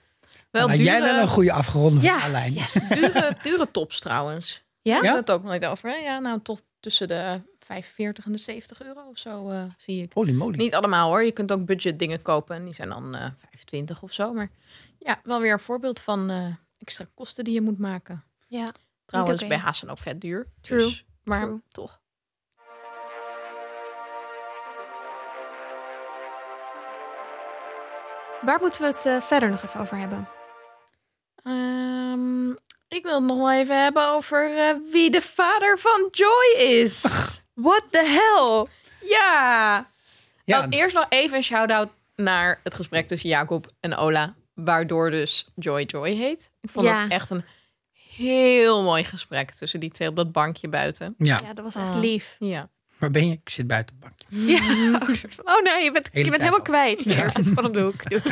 Speaker 2: Wel
Speaker 3: Wel
Speaker 2: dure,
Speaker 3: Nou, jij wel een goede afgeronde
Speaker 1: Ja,
Speaker 3: verhaallijn.
Speaker 1: yes.
Speaker 2: dure, dure tops trouwens.
Speaker 1: Ja?
Speaker 2: Daar had het ook nog niet over. Hè? Ja, nou tot tussen de 45 en de 70 euro of zo eh, zie ik.
Speaker 3: Holy moly.
Speaker 2: Niet allemaal hoor. Je kunt ook budget dingen kopen en die zijn dan eh 25 of zo. Maar ja, wel weer een voorbeeld van eh, extra kosten die je moet maken.
Speaker 1: Ja.
Speaker 2: Trouwens,
Speaker 1: oké.
Speaker 2: bij Haas zijn ook vet duur.
Speaker 1: True,
Speaker 2: Dus, maar
Speaker 1: true.
Speaker 2: toch.
Speaker 1: Waar moeten we het eh, verder nog even over hebben?
Speaker 2: Ehm, ik wil het nog wel even hebben over eh, wie de vader van Joy is.
Speaker 1: What the hell?
Speaker 2: Ja.
Speaker 3: Ja,
Speaker 2: Nou, eerst nog even een shout-out naar het gesprek tussen Jacob en Ola. Waardoor dus Joy Joy heet. Ik vond
Speaker 1: Ja.
Speaker 2: dat echt een heel mooi gesprek tussen die twee op dat bankje buiten.
Speaker 3: Ja,
Speaker 1: Ja, dat was echt
Speaker 2: Oh.
Speaker 1: lief.
Speaker 2: Ja.
Speaker 3: waar ben je? Ik zit buiten het bankje.
Speaker 1: Ja, oh, oh nee, je bent, je bent
Speaker 3: Mhm. Hele tijd
Speaker 1: helemaal
Speaker 3: al.
Speaker 1: kwijt.
Speaker 3: Ja.
Speaker 1: Ja. Er zit van om de hoek. Doei.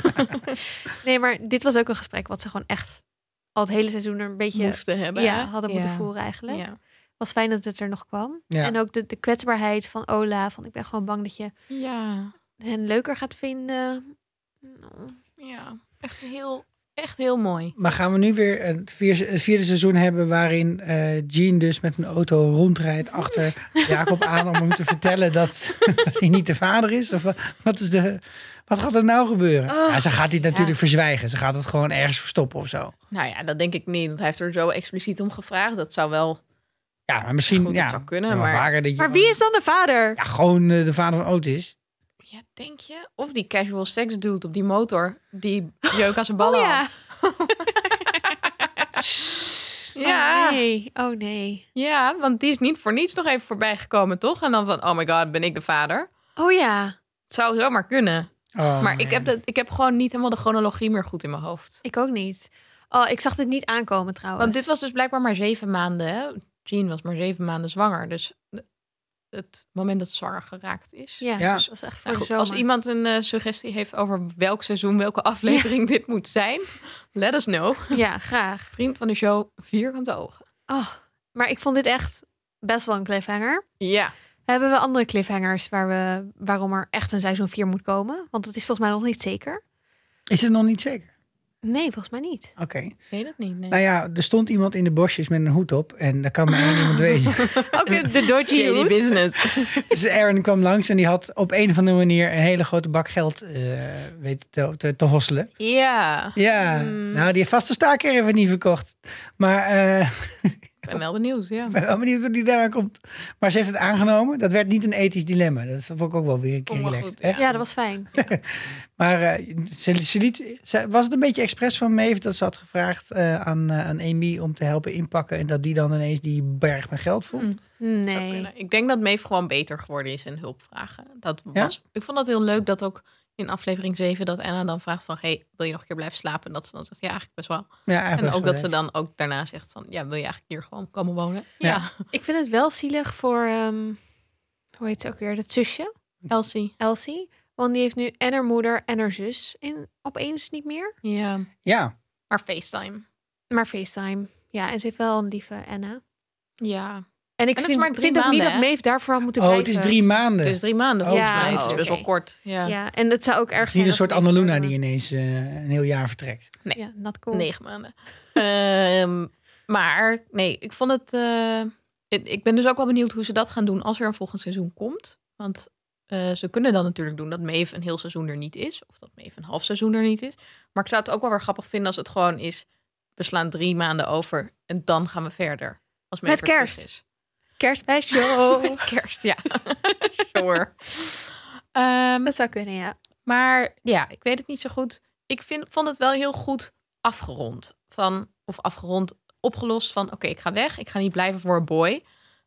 Speaker 1: nee, maar dit was ook een gesprek wat ze gewoon echt al het hele seizoen er een beetje
Speaker 2: Behoefte hebben.
Speaker 1: ja,
Speaker 2: hè?
Speaker 1: hadden moeten voeren eigenlijk.
Speaker 2: Ja.
Speaker 1: Was fijn dat het er nog kwam.
Speaker 3: Ja.
Speaker 1: En ook de, de kwetsbaarheid van Ola. Van ik ben gewoon bang dat je
Speaker 2: ja.
Speaker 1: hen leuker gaat vinden. Nou,
Speaker 2: Ja, echt heel, echt heel mooi.
Speaker 3: Maar gaan we nu weer het vierde, het vierde seizoen hebben waarin eh Jean dus met een auto rondrijdt achter Jacob aan om hem te vertellen dat, dat hij niet de vader is? Of wa- wat, is de, wat gaat er nou gebeuren?
Speaker 2: Ah.
Speaker 1: Oh.
Speaker 3: ja, ze gaat dit natuurlijk verzwijgen. Ze gaat het gewoon ergens verstoppen of zo.
Speaker 2: Nou ja, dat denk ik niet. Want hij heeft er zo expliciet om gevraagd. Dat zou wel
Speaker 3: Ja, maar misschien
Speaker 2: Goed, dat
Speaker 3: ja,
Speaker 2: zou kunnen,
Speaker 3: wel
Speaker 2: maar-
Speaker 3: vaker dat je
Speaker 1: Maar wie is dan de vader?
Speaker 3: Ja, gewoon eh, de vader van Otis.
Speaker 2: Ja, denk je? Of die casual sex dude op die motor, die jeuk aan zijn ballen
Speaker 1: oh
Speaker 2: had.
Speaker 1: ja.
Speaker 2: Ja.
Speaker 1: Oh nee. Oh nee.
Speaker 2: ja, want die is niet voor niets nog even voorbij gekomen, toch? En dan van, oh my god, ben ik de vader?
Speaker 1: Oh ja.
Speaker 2: Het zou zomaar kunnen.
Speaker 3: Oh,
Speaker 2: maar ik
Speaker 3: man.
Speaker 2: heb, dat, ik heb gewoon niet helemaal de chronologie meer goed in mijn hoofd.
Speaker 1: Ik ook niet. Oh, ik zag dit niet aankomen trouwens.
Speaker 2: Want dit was dus blijkbaar maar zeven maanden, hè? Jean was maar zeven maanden zwanger. Dus het moment dat ze zwanger geraakt is.
Speaker 1: Ja,
Speaker 3: Ja.
Speaker 1: dus dat was echt voor
Speaker 2: Nou
Speaker 1: de
Speaker 2: goed, als
Speaker 1: zomer.
Speaker 2: iemand een eh, suggestie heeft over welk seizoen, welke aflevering dit moet zijn, let us know.
Speaker 1: Ja, graag.
Speaker 2: Vriend van de show, vierkante ogen.
Speaker 1: Oh, maar ik vond dit echt best wel een cliffhanger.
Speaker 2: Ja,
Speaker 1: Hebben we andere cliffhangers waar we, waarom er echt een seizoen 4 moet komen? Want dat is volgens mij nog niet zeker.
Speaker 3: Is het nog niet zeker?
Speaker 1: Nee, volgens mij niet.
Speaker 3: Oké.
Speaker 2: weet dat niet. Nee.
Speaker 3: Nou ja, er stond iemand in de bosjes met een hoed op. En daar kan maar één iemand wezen.
Speaker 1: Ook de dodgy
Speaker 2: Shady
Speaker 1: hoed.
Speaker 2: business.
Speaker 3: Dus Aaron kwam langs en die had op een of andere manier een hele grote bak geld eh, weten te, te, te hosselen.
Speaker 2: ja,
Speaker 3: Ja,
Speaker 2: Hmm.
Speaker 3: nou die heeft vast de staakerven niet verkocht. Maar eh,
Speaker 2: ik ben wel benieuwd. Ja.
Speaker 3: ik ben wel benieuwd hoe die daaraan komt. Maar ze heeft het aangenomen. Dat werd niet een ethisch dilemma. Dat vond ik ook wel weer een keer
Speaker 2: Oh, maar
Speaker 3: relaxed.
Speaker 2: goed,
Speaker 3: hè?
Speaker 2: ja.
Speaker 1: Ja, dat was fijn.
Speaker 3: Maar eh, ze, ze liet, ze- was het een beetje expres van Maeve dat ze had gevraagd eh, aan, eh, aan Amy om te helpen inpakken. En dat die dan ineens die berg met geld vond.
Speaker 2: Mm. Zou
Speaker 1: Nee.
Speaker 2: kunnen. Ik denk dat Maeve gewoon beter geworden is in hulpvragen. Dat
Speaker 3: Ja?
Speaker 2: was, ik vond dat heel leuk dat ook in aflevering 7 dat Anna dan vraagt van... hey, wil je nog een keer blijven slapen? En dat ze dan zegt, ja, eigenlijk best wel.
Speaker 3: Ja, eigenlijk
Speaker 2: Hmm. En
Speaker 3: was
Speaker 2: ook
Speaker 3: wel
Speaker 2: dat ze
Speaker 3: leuk.
Speaker 2: dan ook daarna zegt van... ja, wil je eigenlijk hier gewoon komen wonen?
Speaker 3: Ja.
Speaker 2: Ja,
Speaker 1: Ik vind het wel zielig voor, ehm, hoe heet ze ook weer, dat zusje,
Speaker 2: Elsie.
Speaker 1: Elsie. Want die heeft nu en haar moeder en haar zus in, opeens niet meer.
Speaker 2: Ja,
Speaker 3: Ja,
Speaker 2: maar FaceTime.
Speaker 1: Maar FaceTime. Ja, en ze heeft wel een lieve Anna.
Speaker 2: Ja,
Speaker 1: En ik
Speaker 2: het is
Speaker 1: vind,
Speaker 2: maar drie
Speaker 1: vind ook niet
Speaker 2: maanden,
Speaker 1: dat
Speaker 2: hè?
Speaker 1: Maeve daarvoor had moeten
Speaker 3: oh, het
Speaker 1: blijven.
Speaker 3: is drie maanden.
Speaker 2: het is drie maanden
Speaker 3: Oh,
Speaker 2: volgens
Speaker 1: ja,
Speaker 2: mij. Het is
Speaker 1: oh,
Speaker 2: best
Speaker 1: oké.
Speaker 2: wel kort. Ja,
Speaker 1: Ja, en dat zou ook erg
Speaker 3: Het is niet een
Speaker 1: zijn
Speaker 3: soort
Speaker 1: dat Maeve
Speaker 3: Annaluna die
Speaker 1: daarvoor-
Speaker 3: ineens eh, een heel jaar vertrekt.
Speaker 2: Nee.
Speaker 1: Ja, not cool.
Speaker 2: negen maanden. Ehm, maar nee, ik vond het... eh, ik, ik ben dus ook wel benieuwd hoe ze dat gaan doen als er een volgend seizoen komt. Want eh, ze kunnen dan natuurlijk doen dat Maeve een heel seizoen er niet is. Of dat Maeve een half seizoen er niet is. Maar ik zou het ook wel weer grappig vinden als het gewoon is... we slaan drie maanden over en dan gaan we verder. Als Maeve
Speaker 1: Met
Speaker 2: er terug
Speaker 1: kerst.
Speaker 2: is.
Speaker 1: Kerstspecial.
Speaker 2: Met kerst, ja. sure. Ehm,
Speaker 1: dat zou kunnen, ja.
Speaker 2: Maar ja, ik weet het niet zo goed. Ik vind, vond het wel heel goed afgerond. Van, of afgerond, opgelost van... oké, ik ga weg. Ik ga niet blijven voor een boy.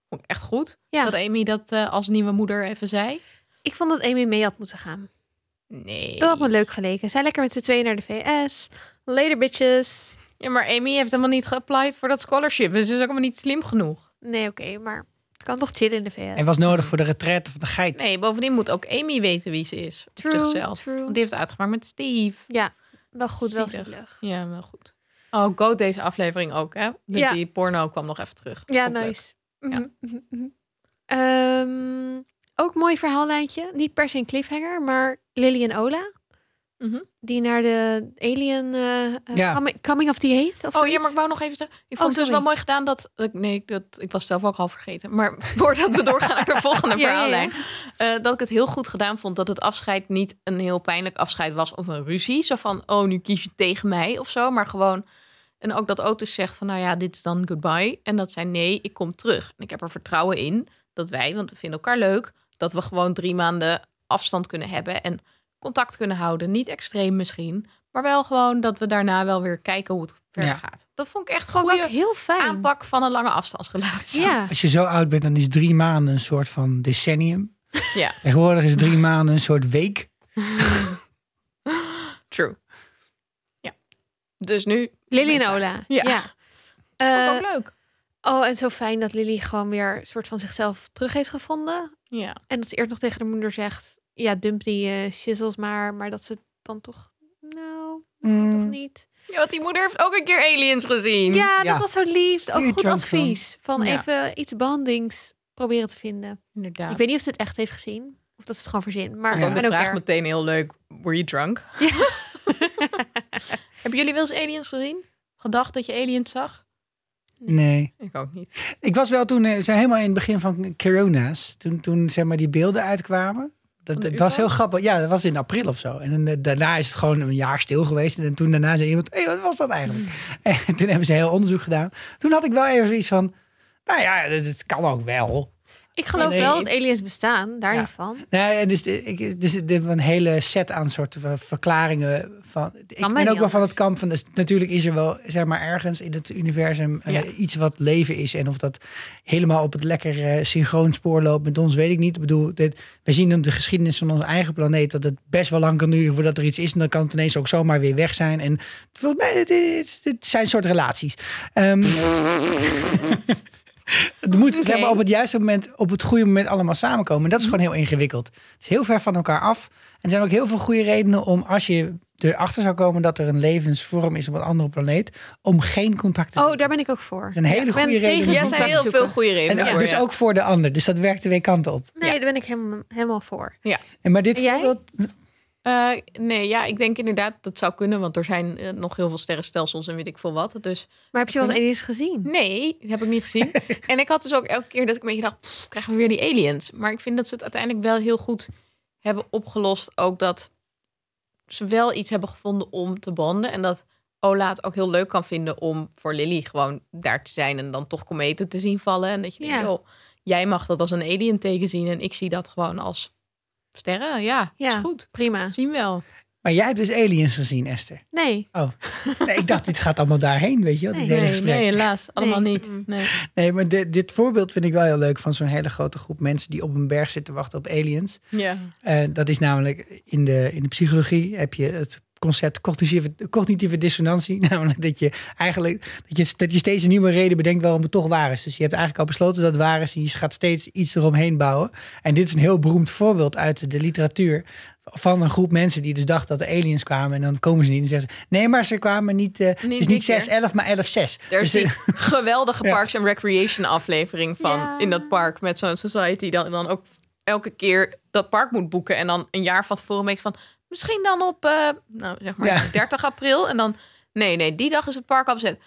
Speaker 2: Vond ik echt goed.
Speaker 1: Ja.
Speaker 2: Dat Amy dat eh, als nieuwe moeder even zei.
Speaker 1: Ik vond dat Amy mee had moeten gaan.
Speaker 2: Nee.
Speaker 1: Dat had me leuk geleken. Zij lekker met z'n tweeën naar de VS. Later, bitches.
Speaker 2: Ja, maar Amy heeft helemaal niet geapplied voor dat scholarship. Dus ze is ook helemaal niet slim genoeg.
Speaker 1: Nee, oké, maar het kan toch chillen in de VS.
Speaker 3: En was nodig voor de retraite van de geit.
Speaker 2: Nee, bovendien moet ook Amy weten wie ze is. Op zichzelf.
Speaker 1: true.
Speaker 2: Want die heeft het uitgemaakt met Steve.
Speaker 1: Ja, wel goed, wel
Speaker 2: Zielig.
Speaker 1: zielig.
Speaker 2: Ja, wel goed. Oh, go deze aflevering ook, hè? De,
Speaker 1: Ja.
Speaker 2: Die porno kwam nog even terug.
Speaker 1: Ja,
Speaker 2: Ook leuk.
Speaker 1: nice. Mhm, mhm, mhm. Ehm, ook mooi verhaallijntje. Niet per se een cliffhanger, maar Lily en Ola.
Speaker 2: Mhm.
Speaker 1: Die naar de alien eh, eh,
Speaker 3: Ja.
Speaker 1: coming, coming of the Eighth of
Speaker 2: Oh
Speaker 1: zoiets.
Speaker 2: ja, maar ik wou nog even zeggen. Ik
Speaker 1: Oh,
Speaker 2: vond het dus
Speaker 1: sorry.
Speaker 2: wel mooi gedaan dat. ik- Nee, ik- dat, ik was zelf ook al vergeten. Maar voordat we doorgaan naar de volgende
Speaker 1: Ja, ja, ja.
Speaker 2: verhaallijn. eh, dat ik het heel goed gedaan vond dat het afscheid niet een heel pijnlijk afscheid was. Of een ruzie. Zo van, oh, nu kies je tegen mij of zo. Maar gewoon. En ook dat Otis zegt van, nou ja, dit is dan goodbye. En dat zij, nee, ik kom terug. En ik heb er vertrouwen in dat wij, want we vinden elkaar leuk. Dat we gewoon drie maanden afstand kunnen hebben. En contact kunnen houden. Niet extreem misschien. Maar wel gewoon dat we daarna wel weer kijken hoe het verder
Speaker 3: Ja.
Speaker 2: gaat. Dat vond ik echt
Speaker 1: Vond ik ook
Speaker 2: goede
Speaker 1: heel fijn.
Speaker 2: aanpak van een lange afstandsrelatie.
Speaker 1: Ja.
Speaker 3: Als je zo oud bent, dan is drie maanden een soort van decennium.
Speaker 2: Ja.
Speaker 3: Tegenwoordig is drie maanden een soort week.
Speaker 2: True. Ja. Dus nu
Speaker 1: Lily en Ola.
Speaker 2: Ja.
Speaker 1: Ja. Eh,
Speaker 2: Vond ik ook leuk.
Speaker 1: oh, en zo fijn dat Lily gewoon weer een soort van zichzelf terug heeft gevonden.
Speaker 2: Ja.
Speaker 1: En dat ze eerst nog tegen de moeder zegt, ja, dump die eh shizzles maar. Maar dat ze dan toch, nou,
Speaker 3: Mm.
Speaker 1: toch niet.
Speaker 2: ja, want die moeder heeft ook een keer aliens gezien.
Speaker 1: Ja,
Speaker 3: Ja.
Speaker 1: dat was zo lief. Ook
Speaker 3: Hier,
Speaker 1: goed
Speaker 3: Johnson.
Speaker 1: advies. Van
Speaker 2: Ja.
Speaker 1: even iets bandings proberen te vinden.
Speaker 2: inderdaad.
Speaker 1: Ik weet niet of ze het echt heeft gezien. Of dat ze het gewoon verzin. Maar
Speaker 2: Vond ook
Speaker 1: ik
Speaker 2: de
Speaker 1: ben ook
Speaker 2: vraag
Speaker 1: er.
Speaker 2: meteen heel leuk. Were you drunk?
Speaker 1: Ja.
Speaker 2: Hebben jullie wel eens aliens gezien? Gedacht dat je aliens zag?
Speaker 3: Nee.
Speaker 2: Ik ook niet.
Speaker 3: Ik was wel toen, eh, zo helemaal in het begin van corona's, toen, toen zeg maar die beelden uitkwamen. Dat,
Speaker 2: Van de
Speaker 3: dat was heel
Speaker 2: UFO's?
Speaker 3: grappig. Ja, dat was in april of zo. En eh, daarna is het gewoon een jaar stil geweest. En toen daarna zei iemand, hé, wat was dat eigenlijk? En toen hebben ze heel onderzoek gedaan. Toen had ik wel even iets van, nou ja, dat, dat kan ook wel.
Speaker 1: Ik geloof
Speaker 3: Nee.
Speaker 1: wel dat aliens bestaan. Daar
Speaker 3: Ja.
Speaker 1: niet van.
Speaker 3: Nee, en dus, eh, ik, dus er hebben een hele set aan soort van verklaringen. Van, ik
Speaker 1: mij
Speaker 3: ben ook
Speaker 1: niet
Speaker 3: wel van
Speaker 1: anders.
Speaker 3: het kamp van, dus natuurlijk is er wel zeg maar, ergens in het universum eh,
Speaker 2: Ja.
Speaker 3: iets wat leven is. En of dat helemaal op het lekker eh, synchroon spoor loopt met ons, weet ik niet. Ik bedoel, dit, we zien in de geschiedenis van onze eigen planeet dat het best wel lang kan duren voordat er iets is. En dan kan het ineens ook zomaar weer weg zijn. En volgens mij, dit, dit, dit zijn soort relaties. Ehm, het moet
Speaker 1: Oké.
Speaker 3: zeg maar, op het juiste moment, op het goede moment allemaal samenkomen. En dat is gewoon heel ingewikkeld. Het is heel ver van elkaar af. En er zijn ook heel veel goede redenen om als je erachter zou komen dat er een levensvorm is op een andere planeet, om geen contact te
Speaker 1: Oh,
Speaker 3: zoeken.
Speaker 1: daar ben ik ook voor.
Speaker 3: is een hele
Speaker 1: Ja, ik ben
Speaker 3: goede reden
Speaker 1: tegen
Speaker 3: om
Speaker 2: Jij
Speaker 1: contact
Speaker 2: zijn heel
Speaker 1: zoeken.
Speaker 2: veel goede
Speaker 3: En
Speaker 2: redenen.
Speaker 3: eh,
Speaker 2: voor,
Speaker 3: dus
Speaker 2: ja.
Speaker 3: ook voor de ander. Dus dat werkt de twee kanten op.
Speaker 1: Nee,
Speaker 2: Ja.
Speaker 1: daar ben ik helemaal, helemaal voor.
Speaker 3: En maar dit
Speaker 1: En jij?
Speaker 3: voorbeeld,
Speaker 2: Eh, nee, ja, ik denk inderdaad dat zou kunnen, want er zijn eh, nog heel veel sterrenstelsels en weet ik veel wat. Dus
Speaker 1: Maar heb je wel eens aliens gezien?
Speaker 2: nee, die heb ik niet gezien. en ik had dus ook elke keer dat ik een beetje dacht, pff, krijgen we weer die aliens? Maar ik vind dat ze het uiteindelijk wel heel goed hebben opgelost. Ook dat ze wel iets hebben gevonden om te banden. En dat Ola het ook heel leuk kan vinden om voor Lily gewoon daar te zijn en dan toch kometen te zien vallen. En dat je denkt,
Speaker 1: Ja.
Speaker 2: joh, jij mag dat als een alien teken zien en ik zie dat gewoon als sterren. Ja,
Speaker 1: Ja.
Speaker 2: is goed.
Speaker 1: Prima.
Speaker 2: Zien wel.
Speaker 3: maar jij hebt dus aliens gezien, Esther.
Speaker 1: Nee.
Speaker 3: Nee, ik dacht, dit gaat allemaal daarheen, weet je wel, dit
Speaker 1: Nee,
Speaker 3: hele
Speaker 2: Nee,
Speaker 3: gesprek.
Speaker 2: nee, helaas. Allemaal
Speaker 1: Nee. Mm.
Speaker 2: niet. Nee.
Speaker 3: Nee, maar dit, dit voorbeeld vind ik wel heel leuk van zo'n hele grote groep mensen die op een berg zitten wachten op aliens.
Speaker 2: Ja.
Speaker 3: Eh, dat is namelijk in de, in de psychologie heb je het concept cognitieve, cognitieve dissonantie. Namelijk dat je eigenlijk dat je, dat je steeds een nieuwe reden bedenkt waarom het toch waar is. Dus je hebt eigenlijk al besloten dat het waar is en je gaat steeds iets eromheen bouwen. En dit is een heel beroemd voorbeeld uit de literatuur van een groep mensen die dus dachten dat de aliens kwamen. En dan komen ze niet en zeggen ze, nee, maar ze kwamen niet, eh, het is
Speaker 2: dit
Speaker 3: niet 6-11, maar 11-6.
Speaker 2: Er is
Speaker 3: Dus, eh,
Speaker 2: die geweldige
Speaker 3: Ja.
Speaker 2: Parks and Recreation aflevering van
Speaker 1: Ja.
Speaker 2: in dat park met zo'n society. Dan, dan ook elke keer dat park moet boeken. En dan een jaar van tevoren weet van misschien dan op eh, nou, zeg maar
Speaker 3: Ja.
Speaker 2: 30 april. En dan nee, nee, die dag is het park afzet.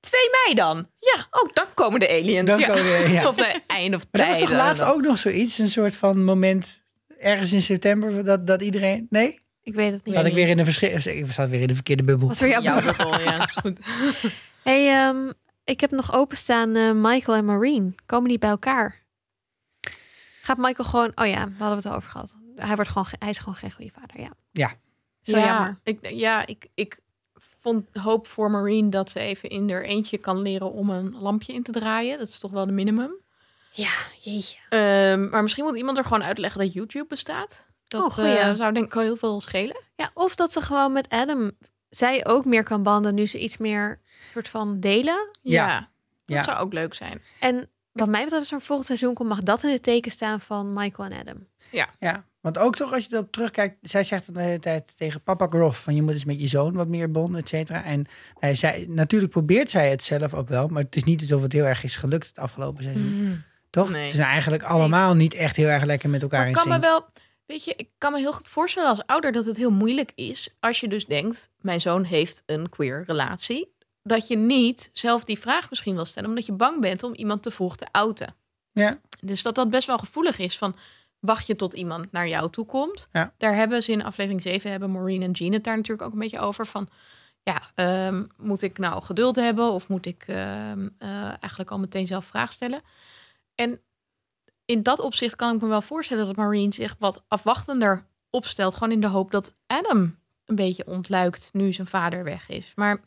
Speaker 2: 2 mei dan. Ja, ook dan komen de aliens.
Speaker 3: Dan
Speaker 2: ja.
Speaker 3: komen de- ja.
Speaker 2: Of nee, eind of
Speaker 3: Maar dat was toch
Speaker 2: tijden.
Speaker 3: laatst
Speaker 2: Dan-
Speaker 3: ook nog zoiets? Een soort van moment ergens in september dat, dat iedereen... Nee?
Speaker 1: Ik weet het niet.
Speaker 3: Zat ik, weer in de verschi- eh, ik zat weer in de verkeerde bubbel.
Speaker 1: Wat voor jou?
Speaker 2: Jouw gevoel, ja. Is goed.
Speaker 1: Hey, ehm, ik heb nog openstaan eh, Michael en Maureen. Komen die bij elkaar? Gaat Michael gewoon... Oh ja, we hadden het al over gehad. Hij, wordt gewoon, ge- hij is gewoon geen goede vader, ja.
Speaker 3: Ja.
Speaker 1: Zo jammer.
Speaker 2: Ik, ja, ik, ik vond hoop voor Marine dat ze even in haar eentje kan leren om een lampje in te draaien. Dat is toch wel de minimum.
Speaker 1: Ja, jeetje.
Speaker 2: Ehm, maar misschien moet iemand er gewoon uitleggen dat YouTube bestaat. Dat
Speaker 1: Oh, goeie.
Speaker 2: eh, zou denk ik al heel veel schelen.
Speaker 1: Ja, of dat ze gewoon met Adam... Zij ook meer kan banden nu ze iets meer soort van delen.
Speaker 3: Ja.
Speaker 2: Dat
Speaker 3: Ja.
Speaker 2: zou ook leuk zijn.
Speaker 1: En wat mij betreft, als er een volgend seizoen komt... mag dat in het teken staan van Michael en Adam.
Speaker 3: ja. Want ook toch, als je erop terugkijkt, zij zegt de hele tijd tegen papa Groff: van je moet eens met je zoon wat meer bonden, et cetera. En hij zei, natuurlijk probeert zij het zelf ook wel, maar het is niet alsof het heel erg is gelukt het afgelopen seizoen.
Speaker 1: Mm.
Speaker 3: Toch?
Speaker 2: Mm. Nee.
Speaker 3: Ze zijn eigenlijk allemaal niet echt heel erg lekker met elkaar
Speaker 2: Maar
Speaker 3: in
Speaker 2: ik kan me
Speaker 3: sync.
Speaker 2: wel, weet je, ik kan me heel goed voorstellen als ouder dat het heel moeilijk is als je dus denkt, mijn zoon heeft een queer relatie. Dat je niet zelf die vraag misschien wil stellen, omdat je bang bent om iemand te vroeg te outen.
Speaker 3: Ja.
Speaker 2: Dus dat dat best wel gevoelig is van wacht je tot iemand naar jou toe komt.
Speaker 3: Ja.
Speaker 2: Daar hebben ze in aflevering 7 hebben Maureen en Jean het daar natuurlijk ook een beetje over van ja, ehm, moet ik nou geduld hebben of moet ik ehm, eh, eigenlijk al meteen zelf vraag stellen? En in dat opzicht kan ik me wel voorstellen dat Maureen zich wat afwachtender opstelt, gewoon in de hoop dat Adam een beetje ontluikt nu zijn vader weg is. Maar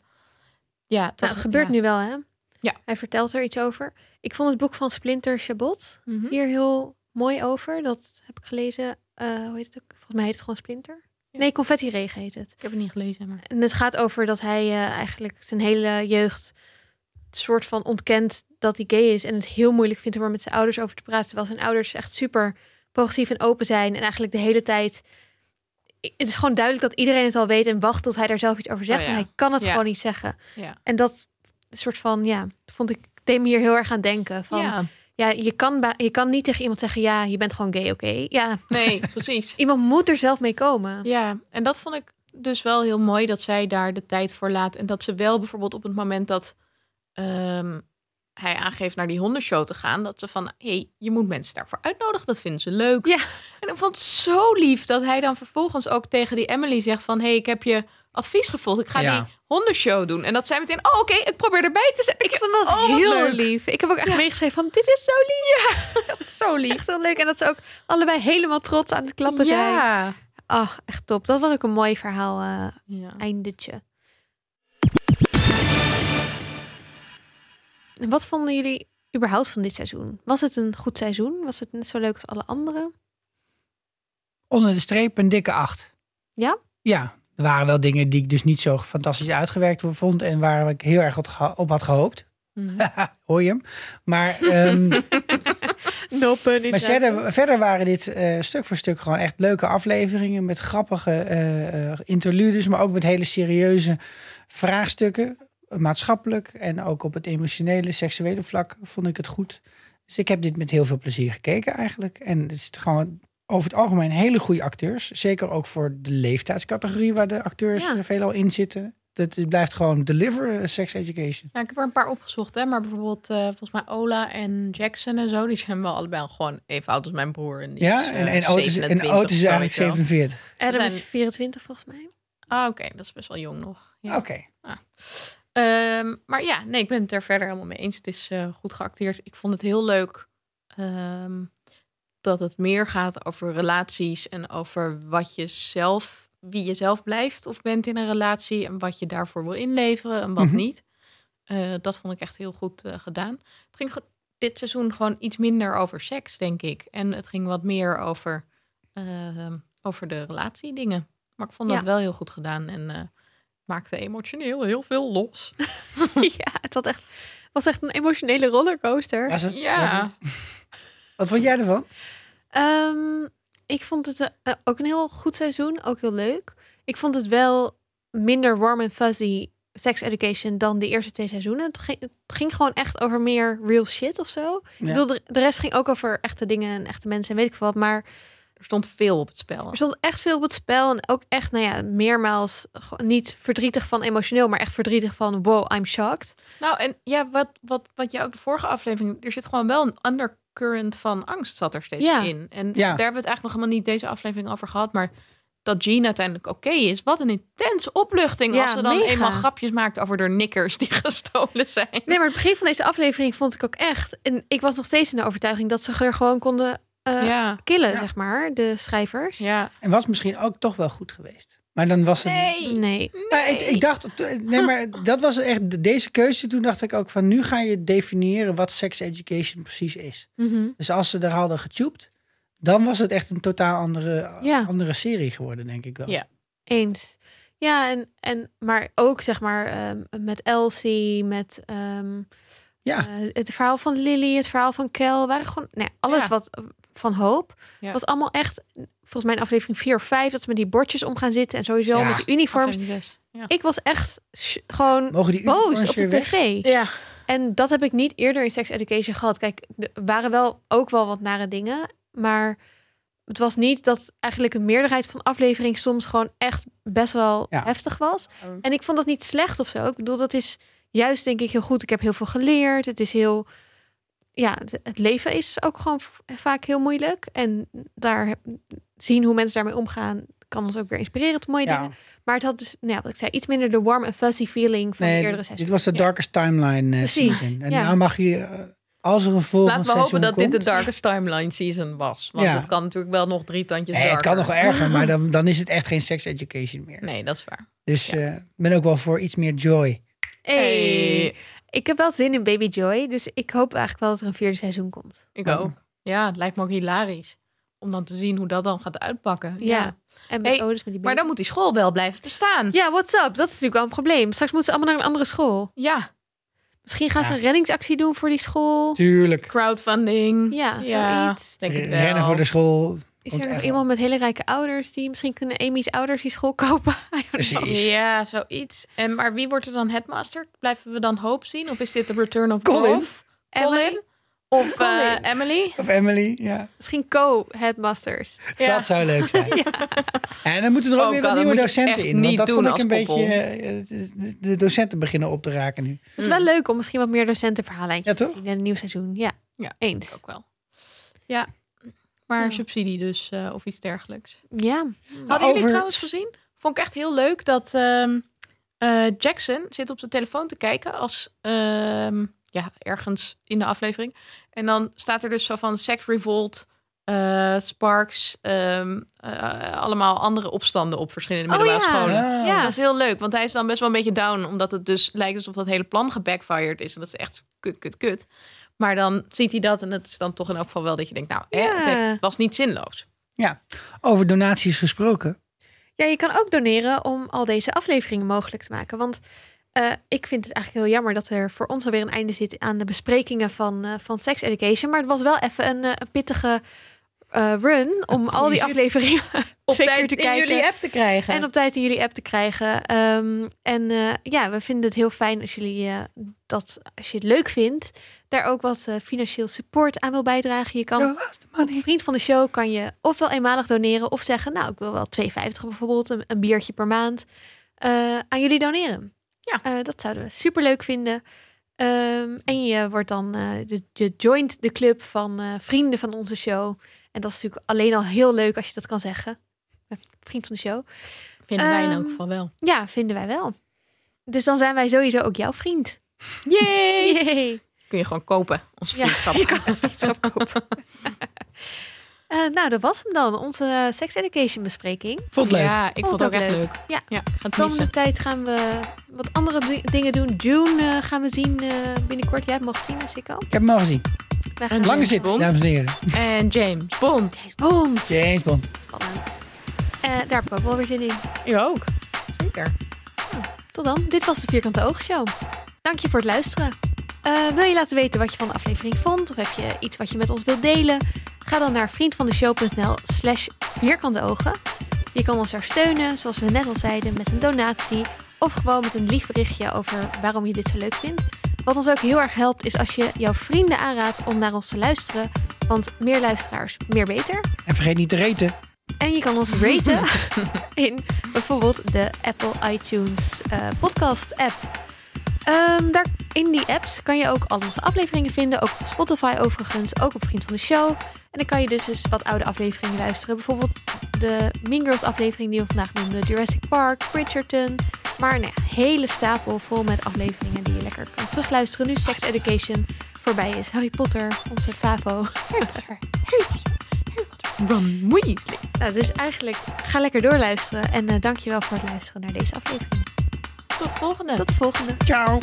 Speaker 2: ja, dat
Speaker 1: Nou, het gebeurt
Speaker 2: ja.
Speaker 1: nu wel, hè?
Speaker 2: Ja.
Speaker 1: Hij vertelt er iets over. Ik vond het boek van Splinter Chabot
Speaker 2: Mhm.
Speaker 1: hier heel mooi over. Dat heb ik gelezen. Eh, hoe heet het ook? Volgens mij heet het gewoon Splinter.
Speaker 2: Ja.
Speaker 1: Nee, Confetti Regen heet het.
Speaker 2: Ik heb het niet gelezen, maar
Speaker 1: En het gaat over dat hij eh, eigenlijk zijn hele jeugd soort van ontkent dat hij gay is en het heel moeilijk vindt om er met zijn ouders over te praten. Terwijl zijn ouders echt super progressief en open zijn en eigenlijk de hele tijd. Het is gewoon duidelijk dat iedereen het al weet en wacht tot hij daar zelf iets over zegt.
Speaker 2: Oh ja.
Speaker 1: En hij kan het
Speaker 2: Ja.
Speaker 1: gewoon niet zeggen.
Speaker 2: Ja.
Speaker 1: En dat soort van, ja, vond ik deed me hier heel erg aan denken. Van, ja.
Speaker 2: ja.
Speaker 1: je, kan ba- je kan niet tegen iemand zeggen, ja, je bent gewoon gay, oké. Ja,
Speaker 2: Nee, precies.
Speaker 1: iemand moet er zelf mee komen.
Speaker 2: Ja, en dat vond ik dus wel heel mooi dat zij daar de tijd voor laat. En dat ze wel bijvoorbeeld op het moment dat ehm, hij aangeeft naar die hondenshow te gaan, dat ze van hé, hey, je moet mensen daarvoor uitnodigen. Dat vinden ze leuk.
Speaker 1: Ja.
Speaker 2: En ik vond het zo lief dat hij dan vervolgens ook tegen die Emily zegt van hé, hey, ik heb je advies gevolgd. Ik ga
Speaker 3: Ja.
Speaker 2: die hondenshow doen. En dat zij meteen, oh oké, ik probeer erbij te zijn.
Speaker 1: Ik vond dat
Speaker 2: Oh, wat
Speaker 1: heel
Speaker 2: leuk.
Speaker 1: lief. Ik heb ook echt meegeschreven van dit is zo lief. dat is zo lief. Echt heel leuk. En dat ze ook allebei helemaal trots aan het klappen zijn.
Speaker 2: ja.
Speaker 1: Ach, echt top. Dat was ook een mooi verhaal, eh,
Speaker 2: ja.
Speaker 1: eindetje. En wat vonden jullie überhaupt van dit seizoen? Was het een goed seizoen? Was het net zo leuk als alle anderen?
Speaker 3: Onder de streep een dikke acht.
Speaker 1: Ja?
Speaker 3: Ja. Er waren wel dingen die ik dus niet zo fantastisch uitgewerkt vond. En waar ik heel erg op geho- op had gehoopt.
Speaker 2: Mhm.
Speaker 3: Hoor je hem? Maar, ehm,
Speaker 1: Nope,
Speaker 3: maar verder, verder waren dit eh, stuk voor stuk gewoon echt leuke afleveringen. Met grappige eh, eh, interludes. Maar ook met hele serieuze vraagstukken. Maatschappelijk en ook op het emotionele, seksuele vlak vond ik het goed. Dus ik heb dit met heel veel plezier gekeken eigenlijk. En het is gewoon over het algemeen hele goede acteurs. Zeker ook voor de leeftijdscategorie waar de acteurs
Speaker 1: Ja.
Speaker 3: eh, veelal in zitten. Dat het blijft gewoon deliver eh, sex education.
Speaker 2: Nou, ik heb er een paar opgezocht, hè. Maar bijvoorbeeld eh, volgens mij Ola en Jackson en zo, die zijn wel allebei al gewoon even oud als mijn broer. En die is,
Speaker 3: ja,
Speaker 2: eh,
Speaker 3: en, en Otis, en
Speaker 2: 27
Speaker 3: Otis is
Speaker 2: of zo,
Speaker 3: eigenlijk
Speaker 2: weet je wel.
Speaker 3: 47.
Speaker 1: Adam
Speaker 2: zijn-
Speaker 1: is 24 volgens mij.
Speaker 2: Ah, oké, dat is best wel jong nog. Ja.
Speaker 3: Oké.
Speaker 2: Ah. Ehm, maar ja, nee, ik ben het er verder helemaal mee eens. Het is eh, goed geacteerd. Ik vond het heel leuk ehm, dat het meer gaat over relaties en over wat je zelf, wie je zelf blijft of bent in een relatie en wat je daarvoor wil inleveren en wat
Speaker 3: Mhm.
Speaker 2: niet. Eh, dat vond ik echt heel goed eh, gedaan. Het ging ge- dit seizoen gewoon iets minder over seks, denk ik. En het ging wat meer over, ehm, over de relatiedingen. Maar ik vond dat
Speaker 1: Ja.
Speaker 2: wel heel goed gedaan en eh, maakte emotioneel heel veel los.
Speaker 1: ja, het had echt, was echt een emotionele rollercoaster.
Speaker 3: Was het?
Speaker 2: Ja.
Speaker 3: Was het? Wat vond jij ervan?
Speaker 1: Ehm, ik vond het eh, ook een heel goed seizoen, ook heel leuk. Ik vond het wel minder warm en fuzzy sex education dan de eerste twee seizoenen. Het ging, het ging gewoon echt over meer real shit of zo. Ik bedoel, de, de rest ging ook over echte dingen en echte mensen en weet ik veel wat. Maar
Speaker 2: Er stond veel op het spel.
Speaker 1: er stond echt veel op het spel. En ook echt, nou ja, meermaals gewoon niet verdrietig van emotioneel, maar echt verdrietig van wow, I'm shocked.
Speaker 2: Nou, en ja, wat, wat, wat jij ook de vorige aflevering... Er zit gewoon wel een undercurrent van angst zat er steeds
Speaker 1: Ja.
Speaker 2: in. En daar
Speaker 3: Ja.
Speaker 2: hebben we het eigenlijk nog helemaal niet deze aflevering over gehad. Maar dat Jean uiteindelijk oké is. Wat een intense opluchting
Speaker 1: Ja,
Speaker 2: als ze dan
Speaker 1: mega.
Speaker 2: eenmaal grapjes maakt over de nikkers die gestolen zijn.
Speaker 1: Nee, maar het begin van deze aflevering vond ik ook echt. En ik was nog steeds in de overtuiging dat ze er gewoon konden eh,
Speaker 2: ja,
Speaker 1: killen,
Speaker 3: Ja.
Speaker 1: zeg maar, de schrijvers.
Speaker 2: ja.
Speaker 3: En was misschien ook toch wel goed geweest. Maar dan was het.
Speaker 1: Nee.
Speaker 3: Nou, ik, ik dacht, nee, maar dat was echt de- deze keuze. Toen dacht ik ook van nu ga je definiëren wat sex education precies is. Dus als ze er hadden getubed, dan was het echt een totaal andere,
Speaker 1: Ja.
Speaker 3: andere serie geworden, denk ik wel.
Speaker 2: Ja.
Speaker 1: Eens. Ja, en, en, maar ook zeg maar ehm, met Elsie, met ehm,
Speaker 3: Ja.
Speaker 1: eh, het verhaal van Lily, het verhaal van Kel. Waren gewoon, nee, alles
Speaker 2: Ja.
Speaker 1: wat eh, van hoop.
Speaker 2: Ja.
Speaker 1: Was allemaal echt, volgens mij in aflevering 4 of 5, dat ze met die bordjes om gaan zitten. En sowieso
Speaker 3: Ja.
Speaker 1: met die uniforms.
Speaker 2: Aflevering zes. Ja.
Speaker 1: Ik was echt sh- gewoon
Speaker 3: Mogen die
Speaker 1: boos
Speaker 3: unicorns
Speaker 1: op de
Speaker 3: weer weg?
Speaker 1: tv.
Speaker 2: ja.
Speaker 1: En dat heb ik niet eerder in sex education gehad. Kijk, er waren wel ook wel wat nare dingen. Maar het was niet dat eigenlijk een meerderheid van afleveringen soms gewoon echt best wel
Speaker 3: Ja.
Speaker 1: heftig was.
Speaker 3: Ehm.
Speaker 1: En ik vond dat niet slecht of zo. Ik bedoel, dat is juist denk ik heel goed. Ik heb heel veel geleerd. Het is heel. Ja, het- het leven is ook gewoon v- vaak heel moeilijk. En daar heb- zien hoe mensen daarmee omgaan, kan ons ook weer inspireren tot mooie dingen.
Speaker 3: Ja.
Speaker 1: Maar het had dus, nou ja, wat ik zei, iets minder de warm en fuzzy feeling van de
Speaker 3: Nee,
Speaker 1: eerdere
Speaker 3: dit-
Speaker 1: sessies.
Speaker 3: dit was de
Speaker 2: Ja.
Speaker 3: darkest timeline eh,
Speaker 1: Precies,
Speaker 3: season. En
Speaker 1: ja.
Speaker 3: nou mag je, eh, als er een volgend
Speaker 2: Laten we
Speaker 3: seizoen
Speaker 2: hopen dat dit
Speaker 3: komt,
Speaker 2: de darkest timeline season was. Want
Speaker 3: Ja.
Speaker 2: het kan natuurlijk wel nog drie tandjes
Speaker 3: Nee, het kan nog
Speaker 2: darker.
Speaker 3: wel erger, maar dan, dan is het echt geen sex education meer.
Speaker 2: Nee, dat is waar.
Speaker 3: Dus
Speaker 2: Ja.
Speaker 3: eh, ik ben ook wel voor iets meer joy.
Speaker 1: Hey. Ik heb wel zin in Baby Joy, dus ik hoop eigenlijk wel dat er een vierde seizoen komt.
Speaker 2: Ik
Speaker 3: Ja.
Speaker 2: ook. Ja, het lijkt me ook hilarisch. Om dan te zien hoe dat dan gaat uitpakken.
Speaker 1: Ja. En met
Speaker 2: Hey,
Speaker 1: Otis met die
Speaker 2: Maar
Speaker 1: baby.
Speaker 2: dan moet die school wel blijven bestaan.
Speaker 1: Ja, what's up? Dat is natuurlijk wel een probleem. Straks moeten ze allemaal naar een andere school.
Speaker 2: Ja.
Speaker 1: Misschien gaan ze
Speaker 3: Ja.
Speaker 1: een reddingsactie doen voor die school.
Speaker 3: Tuurlijk.
Speaker 2: Crowdfunding.
Speaker 1: Ja, zoiets.
Speaker 2: Denk ik wel.
Speaker 3: Rennen voor de school.
Speaker 1: Is
Speaker 3: Komt
Speaker 1: er nog
Speaker 3: echt
Speaker 1: iemand met hele rijke ouders die misschien kunnen Amy's ouders die school kopen? I don't know.
Speaker 3: Precies.
Speaker 2: Ja, zoiets. En, maar wie wordt er dan headmaster? Blijven we dan Hope zien? Of is dit de Return of
Speaker 3: Colin.
Speaker 2: Grove?
Speaker 1: Emily?
Speaker 2: Colin? Of
Speaker 1: Colin.
Speaker 2: eh, Emily?
Speaker 3: Of Emily, ja.
Speaker 1: Misschien co-headmasters.
Speaker 2: Ja.
Speaker 3: Dat zou leuk zijn. En dan moeten er ook
Speaker 2: Oh
Speaker 3: weer
Speaker 2: God,
Speaker 3: wat
Speaker 2: dat
Speaker 3: nieuwe
Speaker 2: moet je
Speaker 3: docenten
Speaker 2: echt
Speaker 3: in. Want
Speaker 2: niet
Speaker 3: dat
Speaker 2: doen
Speaker 3: vond ik
Speaker 2: als
Speaker 3: een beetje...
Speaker 2: koppel.
Speaker 3: eh, de- de docenten beginnen op te raken nu.
Speaker 1: Het
Speaker 2: Mm.
Speaker 1: is wel leuk om misschien wat meer docentenverhalen
Speaker 3: Ja,
Speaker 1: te
Speaker 3: toch?
Speaker 1: zien in een nieuw seizoen. Ja,
Speaker 2: Ja.
Speaker 1: eens.
Speaker 2: Ook wel. Ja. Maar
Speaker 1: Ja.
Speaker 2: subsidie dus, eh, of iets dergelijks.
Speaker 1: Ja,
Speaker 2: Hadden
Speaker 3: Over-
Speaker 2: jullie trouwens gezien? Vond ik echt heel leuk dat ehm, eh, Jackson zit op zijn telefoon te kijken als ehm, ja, ergens in de aflevering. En dan staat er dus zo van Sex Revolt, eh, Sparks, ehm, eh, allemaal andere opstanden op verschillende
Speaker 1: Oh,
Speaker 2: middelbare
Speaker 1: ja.
Speaker 2: scholen.
Speaker 3: Ah.
Speaker 1: Ja.
Speaker 2: Dat is heel leuk, want hij is dan best wel een beetje down, omdat het dus lijkt alsof dat hele plan gebackfired is. En dat is echt kut, kut, kut. Maar dan ziet hij dat en het is dan toch in elk geval wel dat je denkt, nou, eh,
Speaker 1: Ja.
Speaker 2: het heeft- het was niet zinloos.
Speaker 3: Over donaties gesproken.
Speaker 1: Ja, je kan ook doneren om al deze afleveringen mogelijk te maken. Want eh, ik vind het eigenlijk heel jammer dat er voor ons alweer een einde zit aan de besprekingen van, eh, van Sex Education. Maar het was wel even een, eh, een pittige eh, run om al die
Speaker 3: zit.
Speaker 1: afleveringen twee keer te kijken.
Speaker 2: app te krijgen.
Speaker 1: En op tijd in jullie app te krijgen. Ehm, en eh, ja, we vinden het heel fijn als jullie eh, dat, als je het leuk vindt, daar ook wat eh, financieel support aan wil bijdragen. Je kan
Speaker 3: Ja, waar is de
Speaker 1: een
Speaker 3: money?
Speaker 1: vriend van de show kan je ofwel eenmalig doneren of zeggen, nou ik wil wel 2,50 bijvoorbeeld, een, een biertje per maand, eh, aan jullie doneren.
Speaker 2: Ja.
Speaker 1: Eh, dat zouden we super leuk vinden. Ehm, en je wordt dan, eh, de, je joint de club van eh, vrienden van onze show. En dat is natuurlijk alleen al heel leuk als je dat kan zeggen. Een Vriend van de show.
Speaker 2: Vinden wij in
Speaker 1: Ehm,
Speaker 2: elk geval wel.
Speaker 1: Ja, vinden wij wel. Dus dan zijn wij sowieso ook jouw vriend.
Speaker 2: Yay!
Speaker 1: Yay.
Speaker 2: Kun je gewoon kopen, onze
Speaker 1: Ja,
Speaker 2: vriendschap.
Speaker 1: je kan ons vriendschap kopen. Eh, nou, dat was hem dan. Onze eh, sex education bespreking.
Speaker 3: Vond het leuk.
Speaker 2: Ja, ik vond het ook echt leuk.
Speaker 1: Ja.
Speaker 2: ja ik ga het
Speaker 1: De komende
Speaker 2: missen.
Speaker 1: tijd gaan we wat andere di- dingen doen. June eh, gaan we zien eh, binnenkort. Jij hebt hem al gezien, Sikko.
Speaker 3: Ik heb hem al gezien.
Speaker 1: Wij gaan
Speaker 3: Lange
Speaker 1: weer-
Speaker 3: zit,
Speaker 2: Bond.
Speaker 3: dames en heren.
Speaker 2: En James Bond.
Speaker 1: James Bond.
Speaker 3: James Bond.
Speaker 1: Spannend. Eh, daar heb ik ook wel weer zin in.
Speaker 2: U ook. Zeker.
Speaker 1: Tot dan. Dit was de Vierkante Oogshow. Dank je voor het luisteren. Eh, wil je laten weten wat je van de aflevering vond? Of heb je iets wat je met ons wilt delen? Ga dan naar vriendvandeshow.nl slash vierkante ogen. Je kan ons daar steunen, zoals we net al zeiden, met een donatie. Of gewoon met een lief berichtje over waarom je dit zo leuk vindt. Wat ons ook heel erg helpt, is als je jouw vrienden aanraadt om naar ons te luisteren. Want meer luisteraars, meer beter.
Speaker 3: En vergeet niet te reten.
Speaker 1: En je kan ons raten in bijvoorbeeld de Apple iTunes eh, podcast app. Ehm, daar, in die apps kan je ook al onze afleveringen vinden. Ook op Spotify overigens, ook op Vriend van de Show. En dan kan je dus eens wat oude afleveringen luisteren. Bijvoorbeeld de Mean Girls aflevering die we vandaag noemden. Jurassic Park, Bridgerton. Maar nou ja, een hele stapel vol met afleveringen die je lekker kan terugluisteren. Nu Sex Education voorbij is. Harry Potter, onze favo.
Speaker 2: Ron Weasley.
Speaker 1: Nou, dus eigenlijk ga lekker doorluisteren. En eh dankjewel voor het luisteren naar deze aflevering.
Speaker 2: Tot volgende.
Speaker 1: Tot de volgende.
Speaker 3: Ciao.